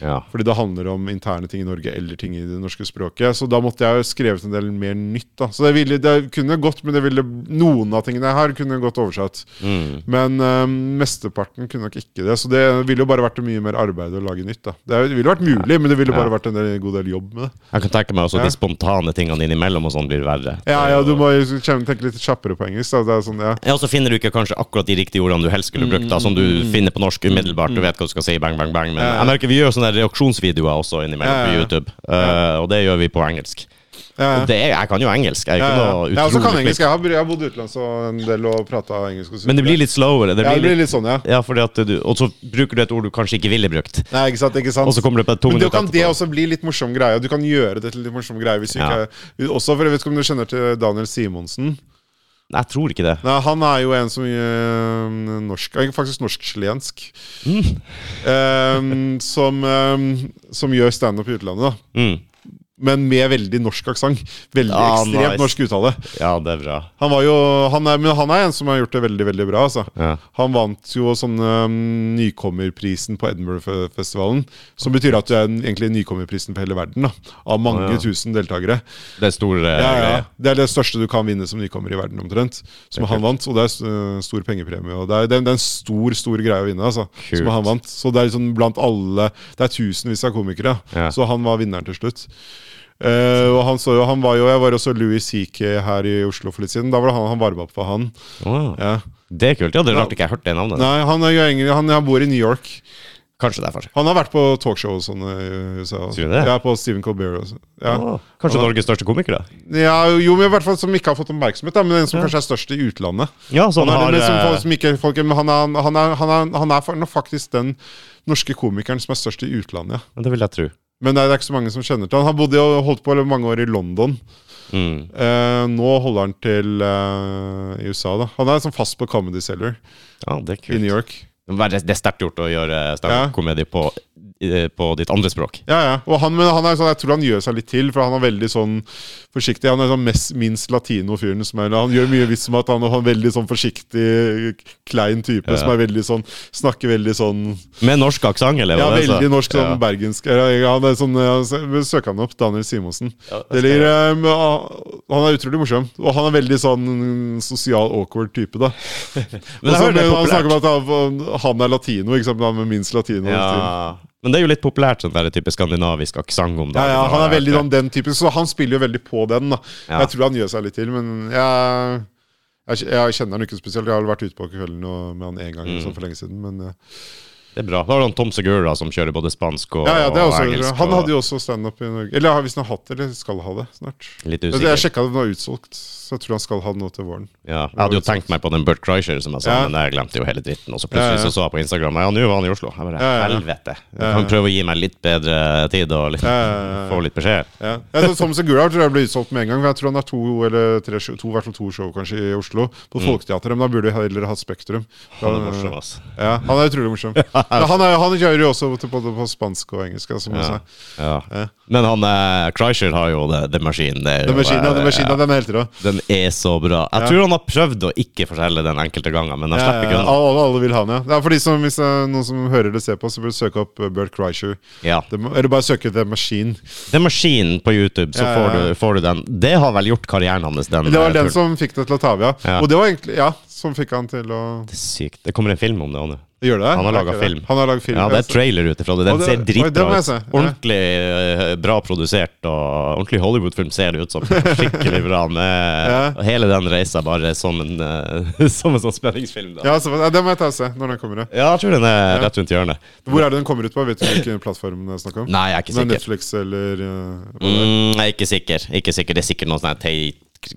ja.
Fordi det handler om interne ting i Norge eller ting i det norske språket. Så da måtte jeg jo skrevet en del mer nytt. da Så det, ville, det kunne gått, men det ville, noen av tingene her kunne gått oversatt.
Mm.
Men eh, mesteparten kunne nok ikke det. Så det ville jo bare vært mye mer arbeid å lage nytt. da Det er- det ville vært mulig, men det ville bare
Ja.
vært en del, god del jobb med det.
Jeg kan tenke meg også
Ja.
de spontane tingene innimellom og sånn blir verre.
Ja, ja, du må jo kjenne- tenke litt kjappere på engelsk. Da. Det er sånn, ja.
Ja, og så finner du ikke kanskje akkurat de riktige ordene du helst skulle brukt, da, som du finner på norsk umiddelbart. Du vet hva du skal si, bang, bang, bang.
Mm.
Men
Ja, ja.
jeg merker vi gjør sånne reaksjonsvideoer også innimellom
Ja, ja,
på
ja.
YouTube, eh, og det gjør vi på engelsk.
Ja, ja.
Og det er, jeg kan jo engelsk. Jeg er
Ja,
ikke
ja.
noe
Jeg også kan
utrolig
engelsk.
flink.
Jeg har, jeg har bodd utenlands og en del og prata engelsk. Og så-
Men det blir litt slowere. Det
ja, det
blir
blir
litt,
litt sånn, ja.
ja, fordi at du, og så bruker du et ord du kanskje ikke ville brukt,
Nei, ikke sant, ikke sant?
og så kommer det på et to
men du
minutter
kan det
etterpå.
også bli litt morsom greie. Du kan gjøre det til litt morsom greie. Hvis du
Ja.
ikke, også for jeg vet ikke om du kjenner til Daniel Simonsen.
Nei, Jeg tror ikke det.
Nei, han er jo en som øh, norsk, er Faktisk norsk-chilensk.
Mm.
Ehm, som, øhm, som gjør standup i utlandet, da.
Mm.
Men med veldig norsk aksent. Veldig
Ah,
ekstremt
nice.
norsk uttale.
Ja, det er bra.
Han var jo han er, Men han er en som har gjort det veldig veldig bra. Altså.
Ja.
Han vant jo sånn øhm, nykommerprisen på Edinburgh-festivalen. Som betyr at du er en- egentlig nykommerprisen for hele verden. Da, av mange
ja.
tusen deltakere.
Det er stor eh,
Ja, ja.
greie.
Det er det største du kan vinne som nykommer i verden, omtrent. Som han vant, og det er øh, stor pengepremie. Og det, er, det, er, det er en stor stor greie å vinne, altså.
Kult.
Som han vant. Så det er liksom blant alle Det er tusenvis av komikere,
Ja.
så han var vinneren til slutt. Eh, og han, så jo, han var jo Jeg var også Louis CK her i Oslo for litt siden. Da var det han han varma opp for han.
Wow.
Ja.
Det er kult. Ja, det er rart ikke jeg hørte det navnet.
Nei, han, er jo egentlig- han, han bor i New York.
Kanskje derfor.
Han har vært på talkshow og sånn i USA.
Sier du det?
Ja, på Stephen Colbert. og sånn. Ja.
Å, kanskje Norges største komiker, da?
Ja, jo, men i hvert fall som ikke har fått oppmerksomhet, da, men en som kanskje er størst i utlandet.
Ja, så
Han
han
er,
har
den som, folk
eh,
som ikke, folk, men han er, han, er, han, er, han er fa- nå faktisk den norske komikeren som er størst i utlandet. ja.
Det vil jeg tro.
Men det er, det er ikke så mange som kjenner til han. Han bodde og holdt på mange år i London.
Mm.
Eh, nå holder han til eh, i USA. da Han er sånn fast på Comedy Cellar
Ja, det er
i New
kult.
York.
Det er- det er sterkt gjort å gjøre standup-komedie på eh, på ditt andre språk.
Ja, ja. Og han, men han er sånn, jeg tror han gjør seg litt til, for han er veldig sånn forsiktig. Han er sånn mest, minst latino-fyren som er Han gjør mye vits om at han er en veldig sånn forsiktig, klein type
Ja.
som er veldig sånn Snakker veldig sånn
Med norsk aksent, eller?
Ja,
var det, så?
veldig norsk, sånn
Ja.
bergensk eller, ja, det er sånn, ja, så- Søk han opp, Daniel Simonsen.
Ja,
det
det skal
ligger, eh, ah, han er utrolig morsom, og han er veldig sånn sosial awkward type, da.
Men
Og
jeg
så-
hører det er
han snakker
populært.
om at han, han er latino, ikke sant? men han er minst latino.
Ja. Men det er jo litt populært, sånn der type skandinavisk aksent om
Ja,
dagen.
ja, han er veldig
Ja.
sånn den typen, så han spiller jo veldig på den. da
Ja.
Jeg tror han gjør seg litt til, men jeg, jeg, jeg kjenner han ikke spesielt. Jeg har vært ute på kvelden og, med han én gang
Mm.
eller sånn for lenge siden. Men ja,
Det er bra. Da har du han Tom Segura som kjører både spansk og,
ja, ja det er også,
og engelsk.
Han hadde
og...
jo også standup i Norge. Eller ja, hvis han har hatt det, eller skal ha det snart.
Litt
Jeg,
usikker.
jeg sjekka det, den var utsolgt, så jeg tror han skal ha det nå til våren.
Ja, jeg hadde jo tenkt meg på den Bert Kreischer som jeg sa,
Ja.
men jeg glemte jo hele dritten. Og så
Ja,
plutselig
ja.
så så jeg på Instagram Ja, nå var han i Oslo. Jeg bare,
Ja, ja, ja.
Helvete. Kan prøve å gi meg litt bedre tid og litt,
ja, ja.
få litt beskjed.
Ja. Jeg tror Tom Segura tror jeg ble utsolgt med en gang. For jeg tror han har to eller tre show, to, i hvert fall to show kanskje i Oslo, på Folketeatret. Men da burde vi heller hatt Spektrum.
Mm. Han er
Da-
morsom, ass.
Ja, han er utrolig morsom. Men han, er, han kjører jo også til både på spansk og engelsk. altså, Som jeg
Ja.
sa. Ja.
Ja. Men han eh, Kreischer har jo The, the Machine. Det er
Den
jo,
maskinen,
eh,
den maskinen,
ja.
den er helt rå.
Den er så bra. Jeg tror han har prøvd å ikke fortelle den enkelte ganger, men
Ja,
han slipper
ja,
ikke unna.
alle, alle vil ha den, ja. Det er for de som, Hvis det er noen som hører det ser på, så bør du søke opp eh, Bert Kreischer.
Ja.
Det må- Eller bare søke The Machine.
Det er maskinen på YouTube,
Ja,
så
ja,
får,
ja.
du, får du den. Det har vel gjort karrieren hans, den.
Det var
eh,
den
turen.
som fikk det til å ta av, ja.
Ja.
Og det var egentlig Ja, som fikk han til å
Det er sykt. Det kommer en film om det òg nå.
gjøre det.
Han har
Er
laget
ikke det?
film.
Han har laget film.
Ja, det
jeg
er
så-
trailer ute fra det.
Å,
Den
det-
ser
oi, det må
dritbra
jeg
ut.
se. Ja.
Ordentlig eh, bra produsert, og ordentlig Hollywood-film ser det ut som. Skikkelig bra med og hele den reisa bare som en, eh, som en sånn spenningsfilm. Da.
ja, så, ja, det må jeg ta og se når den kommer. Ja.
Ja, jeg tror den er rett rundt hjørnet.
Hvor er det den kommer ut på? Vet du hvilken plattform det er snakk om?
Mm. Nei, jeg er
Den
ikke
er
sikker.
Netflix eller eh, hva det er.
Mm, jeg er ikke sikker. Ikke sikker. Det er sikkert noen sånne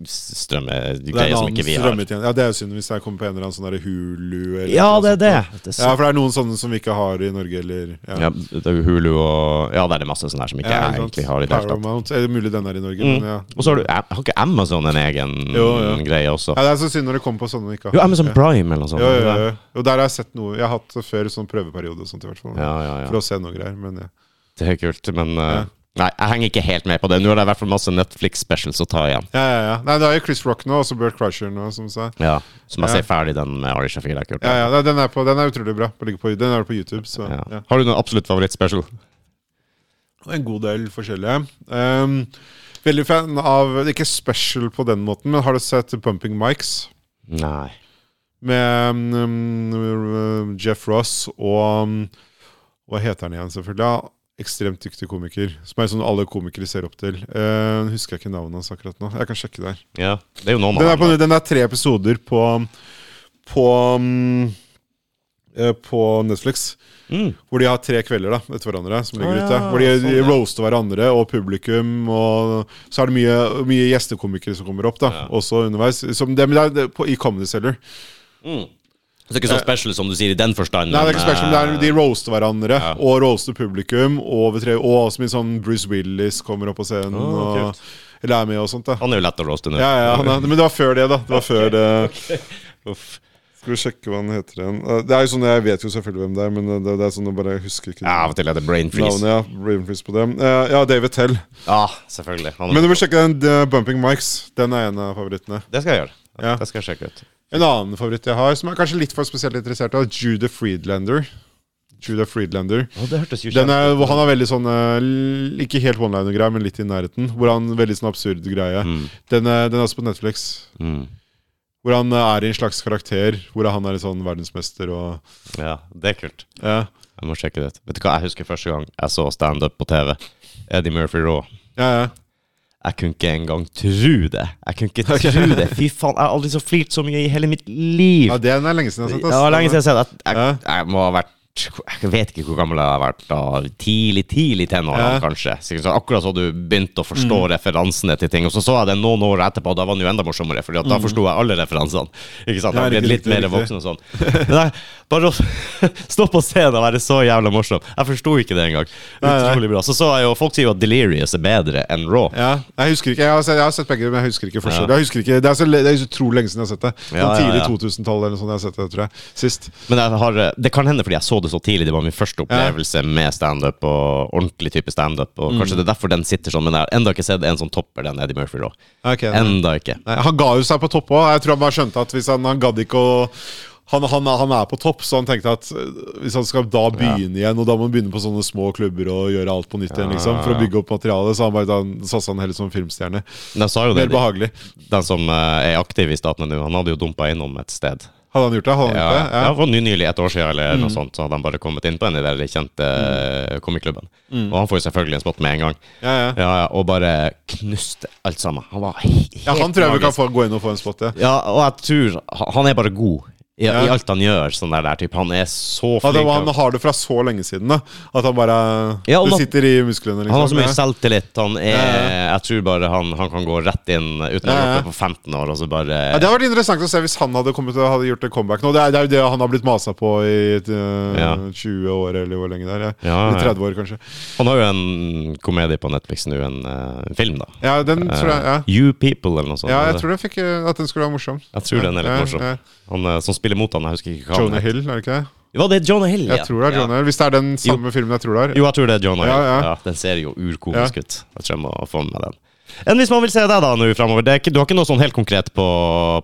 Det er
teit-strømmegreier
en
som ikke
annen
vi har.
strømmetjeneste. Ja, det er jo synd hvis jeg kommer på en eller annen sånn der Hulu eller
Ja,
noe
det er
sånt.
det. det er
Ja, for det er noen sånne som vi ikke har i Norge, eller
Ja, det er jo Hulu og Ja, der er det masse sånne her som ikke
Ja,
jeg
ikke sant?
egentlig har i det hele tatt. Mm.
Paramount. Er det mulig den er i Norge, men ja.
Og så har du Har ikke Amazon en egen
Jo, ja.
greie også?
ja. Det er så synd når det kommer på sånne vi ikke
Jo,
har.
Amazon Prime eller noe sånt.
Jo, jo, jo. Og der har jeg sett noe. Jeg har hatt det før sånn prøveperiode og sånt, i hvert fall.
Ja, ja, ja.
For å se noe greier, men ja.
Det er kult, men eh, Nei, jeg henger ikke helt med på det. Nå er det i hvert fall masse Netflix-specials å ta igjen.
Ja, ja, ja. Nei, det er jo Chris Rock nå, og så Bert Crusher nå, som sa.
Ja, Som jeg
Ja.
ser ferdig den med Ari Shafir. Det er kult.
Ja, ja, nei, den er, på, den er utrolig bra. Den ligger på, den er på YouTube, så
Ja.
ja.
Har du noen absolutt favorittspecial?
En god del forskjellige. Um, veldig fan av Ikke special på den måten, men har du sett Pumping Mics?
Nei.
Med um, Jeff Ross og um, Hva heter han igjen, selvfølgelig? Ja, ekstremt dyktig komiker. Som er sånn alle komikere ser opp til. Uh, husker jeg ikke navnet hans akkurat nå. Jeg kan sjekke der.
Ja, Det er jo noen
Den er,
av
på,
dem. da.
den er tre episoder på På, um, eh, på Netflix.
Mm.
Hvor de har tre kvelder da, etter hverandre. som ligger
Å, ja,
ute Hvor de,
sånn,
de
ja.
roaster hverandre og publikum. Og så er det mye, mye gjestekomikere som kommer opp, da
Ja.
også underveis. Som det, men det er det, på, I Comedy Cellar.
Mm. Så det er ikke så special som du sier i den
Eh,
forstand.
Nei, det er
men,
ikke special,
eh,
men det er, De roaster hverandre
Ja.
og roaster publikum. Og, over tre, og også mye sånn Bruce Willis kommer opp på scenen.
Å, kult.
og, eller er med og sånt. da
Han er jo lett å roaste nå.
ja, ja, han er, Men det var før det, da. Det var før det
Uff.
Skal vi sjekke hva han heter igjen. Eh, Det er jo sånn, Jeg vet jo selvfølgelig hvem det er, men det, det er sånn jeg bare husker ikke
Ja, Av og til er det brain freeze.
navnet. Ja, Ravenfreeze på det. Eh, ja, David Tell.
Ja, selvfølgelig. Han er
Men du må sjekke den The Bumping Mics. Den er en av favorittene.
Det skal jeg gjøre.
Ja.
Det skal jeg sjekke ut.
En annen favoritt jeg har, som er kanskje litt for spesielt interessert av, Judah Friedlander. Judah Friedlander.
det hørtes jo
Den er, hvor han har veldig sånn eh, l- Ikke helt one-liner-greie, men litt i nærheten. Hvor han Veldig sånn absurd greie. Den, er, den er også på Netflix.
Mm.
Hvor han eh, er i en slags karakter. Hvor han er en sånn verdensmester og
Ja, det er kult.
Ja,
Jeg må sjekke det ut. Vet du hva jeg husker første gang jeg så standup på TV? Eddie Murphy Raw.
ja. ja.
Jeg kunne ikke engang tro det. Jeg kunne ikke tro det. Fy faen, jeg har aldri så flirt så mye i hele mitt liv.
ja den er lenge siden jeg har sett.
Det var lenge siden jeg har sett det. Jeg,
Ja.
jeg, jeg må ha vært jeg vet ikke hvor gammel jeg har vært da. Tidlig tidlig tenårene,
Ja. Mm.
kanskje. Sikkert sånn akkurat så du begynte å forstå referansene til ting. Og så så jeg det noen år etterpå, og da var den jo enda morsommere. Fordi at da forsto jeg alle referansene. Ikke sant?
Mm. Ja,
Jeg ble
riktig,
litt
riktig,
mer
riktig.
voksen og sånn. Men jeg, bare å stå på scenen og være så jævla morsom. Jeg forsto ikke det engang.
nei.
Utrolig bra. Så så jeg jo Folk sier jo at Delirious er bedre enn Raw.
Ja, jeg husker ikke, jeg har, sett, jeg har sett begge, men jeg husker ikke forskjell.
Ja.
Jeg husker ikke, det er så le- det er så utrolig lenge siden jeg har sett det. Sånn
Ja, ja, ja.
Tidlig 2000-tall eller noe sånt jeg har sett det, tror jeg. Sist.
Men jeg har, eh, det kan hende fordi jeg så det så tidlig. Det var min første opplevelse med standup, og ordentlig type standup. Og
Mm.
kanskje det er derfor den sitter sånn, men jeg har enda ikke sett en som topper den Eddie Murphy Raw.
Ok, nei.
Enda ikke.
Nei, han ga jo seg på topp òg. Jeg tror han bare skjønte at hvis han, han gadd ikke å han, han, han er på topp, så han tenkte at øh, hvis han skal da begynne igjen, og da må han begynne på sånne små klubber og gjøre alt på nytt igjen, liksom, for å bygge opp materialet, så han bare da satsa han heller som filmstjerne.
De sa jo det,
Mer behagelig.
den som eh, er aktiv i statene nå, han hadde jo dumpa innom et sted.
Hadde han gjort det? Hadde han
Ja,
gjort det?
ja. Det var ny, nylig et år siden, eller
Mm.
noe sånt, så hadde han bare kommet inn på den i den kjente eh, komikklubben. Og han får jo selvfølgelig en spot med en gang.
Mm. Ja, ja.
Ja, ja, Og bare knuste alt sammen. Han var he- helt
Ja, han tror jeg vi
magisk.
kan få, gå inn og få en spot, ja.
Ja, og jeg tror han- Han er bare god i,
Ja.
i alt han gjør. Sånn der, der typ. Han er så
Ja,
flink. altså.
det var,
han,
han har det fra så lenge siden da at han bare
Ja, og
Det
man-
sitter i musklene. Liksom.
har så mye
Ja.
selvtillit. Han er,
Ja,
Jeg tror bare han, han kan gå rett inn uten
Ja,
å ha
ja.
vært på 15 år, og så bare
Ja, det hadde vært interessant å se hvis han hadde, kommet, og hadde gjort et comeback nå. Det er, det er jo det han har blitt masa på i eh,
Ja.
20 år, eller hvor lenge det er. Ja.
Ja, ja.
Eller 30 år, kanskje.
Han har jo en komedie på Netflix nå, en, eh, en film, da.
Ja, den tror jeg ja.
Eh, You People, eller noe sånt.
ja, jeg tror jeg fikk eh, at den skulle være morsom.
Jeg tror den er litt
Ja,
morsom.
ja.
Han eh, som spiller mot han, jeg husker ikke hva
Jonah
han heter.
Hill, er det ikke det?
Var det Jonah Hill?
Jeg
ja.
tror det er
Ja.
Jonah Hill. Hvis det er den samme filmen jeg tror det er.
Jo, jeg tror det er Jonah Hill.
Ja,
Ja,
ja.
den ser jo urkomisk ut. Jeg tror jeg må få med meg den. Enn hvis man vil se deg da nå fremover Det er ikke, du har ikke noe sånn helt konkret på,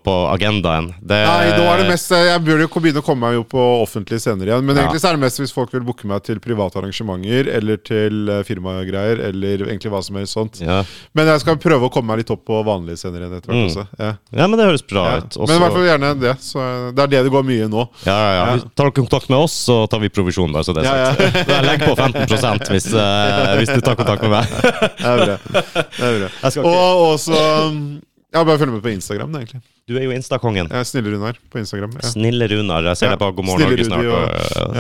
på agendaen? Det-
Nei, nå er det mest eh, Jeg burde jo ko- begynne å komme meg jo på offentlig senere igjen. Men egentlig så er det mest hvis folk vil booke meg til private arrangementer eller til eh, firmagreier. Eller egentlig hva som helst sånt.
Ja.
Men jeg skal prøve å komme meg litt opp på vanlige scener igjen etter hvert
Mm.
også. Ja.
ja, men det høres bra
Ja.
ut.
Men i hvert fall gjerne det. Så eh, det er det det går mye i nå.
ja, ja, ja. Hvis- Tar dere kontakt med oss, så tar vi provisjon, bare så det er
Ja,
sagt. Jeg legger på 15 hvis, eh, hvis du tar kontakt med meg.
Det er bra. Det er bra.
Jeg skal ikke.
Og også mm, Ja, bare følg med på Instagram, det, egentlig.
Du er jo Insta-kongen.
Jeg er snille Runar på Instagram. Ja.
Snille Runar. Jeg ser
Ja.
deg på God morgen
Snille
Norge
Rudi
snart. Og,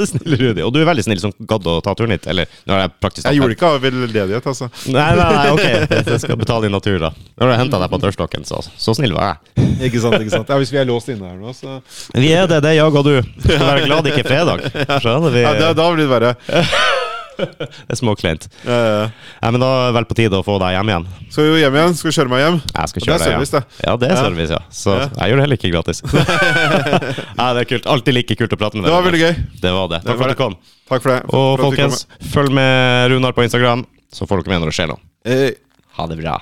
ja. snille Rudi. Og du er veldig snill som gadd å ta turen hit. Eller, nå har jeg praktisk tatt
Jeg gjorde ikke av veldedighet, altså.
Nei, nei, nei, ok. Jeg skal betale i natur, da. Når jeg henta deg på dørstokken, så, så snill var jeg.
Ikke sant, ikke sant. Ja, hvis vi er låst inne her nå, så
Vi er det, det er jeg og du. Skal være glad det ikke er fredag. Skjønner vi?
ja, det, Da blir det verre.
Det er småkleint.
Ja, ja, ja.
Nei, men da er det vel på tide å få deg hjem igjen.
Skal jo hjem igjen? Skal du kjøre meg hjem?
Jeg skal
Og det er
kjøre deg
service,
hjem.
det.
Ja, det er service, ja. Så jeg gjør det heller ikke gratis. Nei, det er kult. Alltid like kult å prate med deg.
Det var veldig gøy.
Det var det.
Det
Takk for
var
at du kom.
Takk for det.
Og
For at du kom.
folkens, følg med Runar på Instagram, så får dere med når det skjer noe.
Eh,
Ha det bra.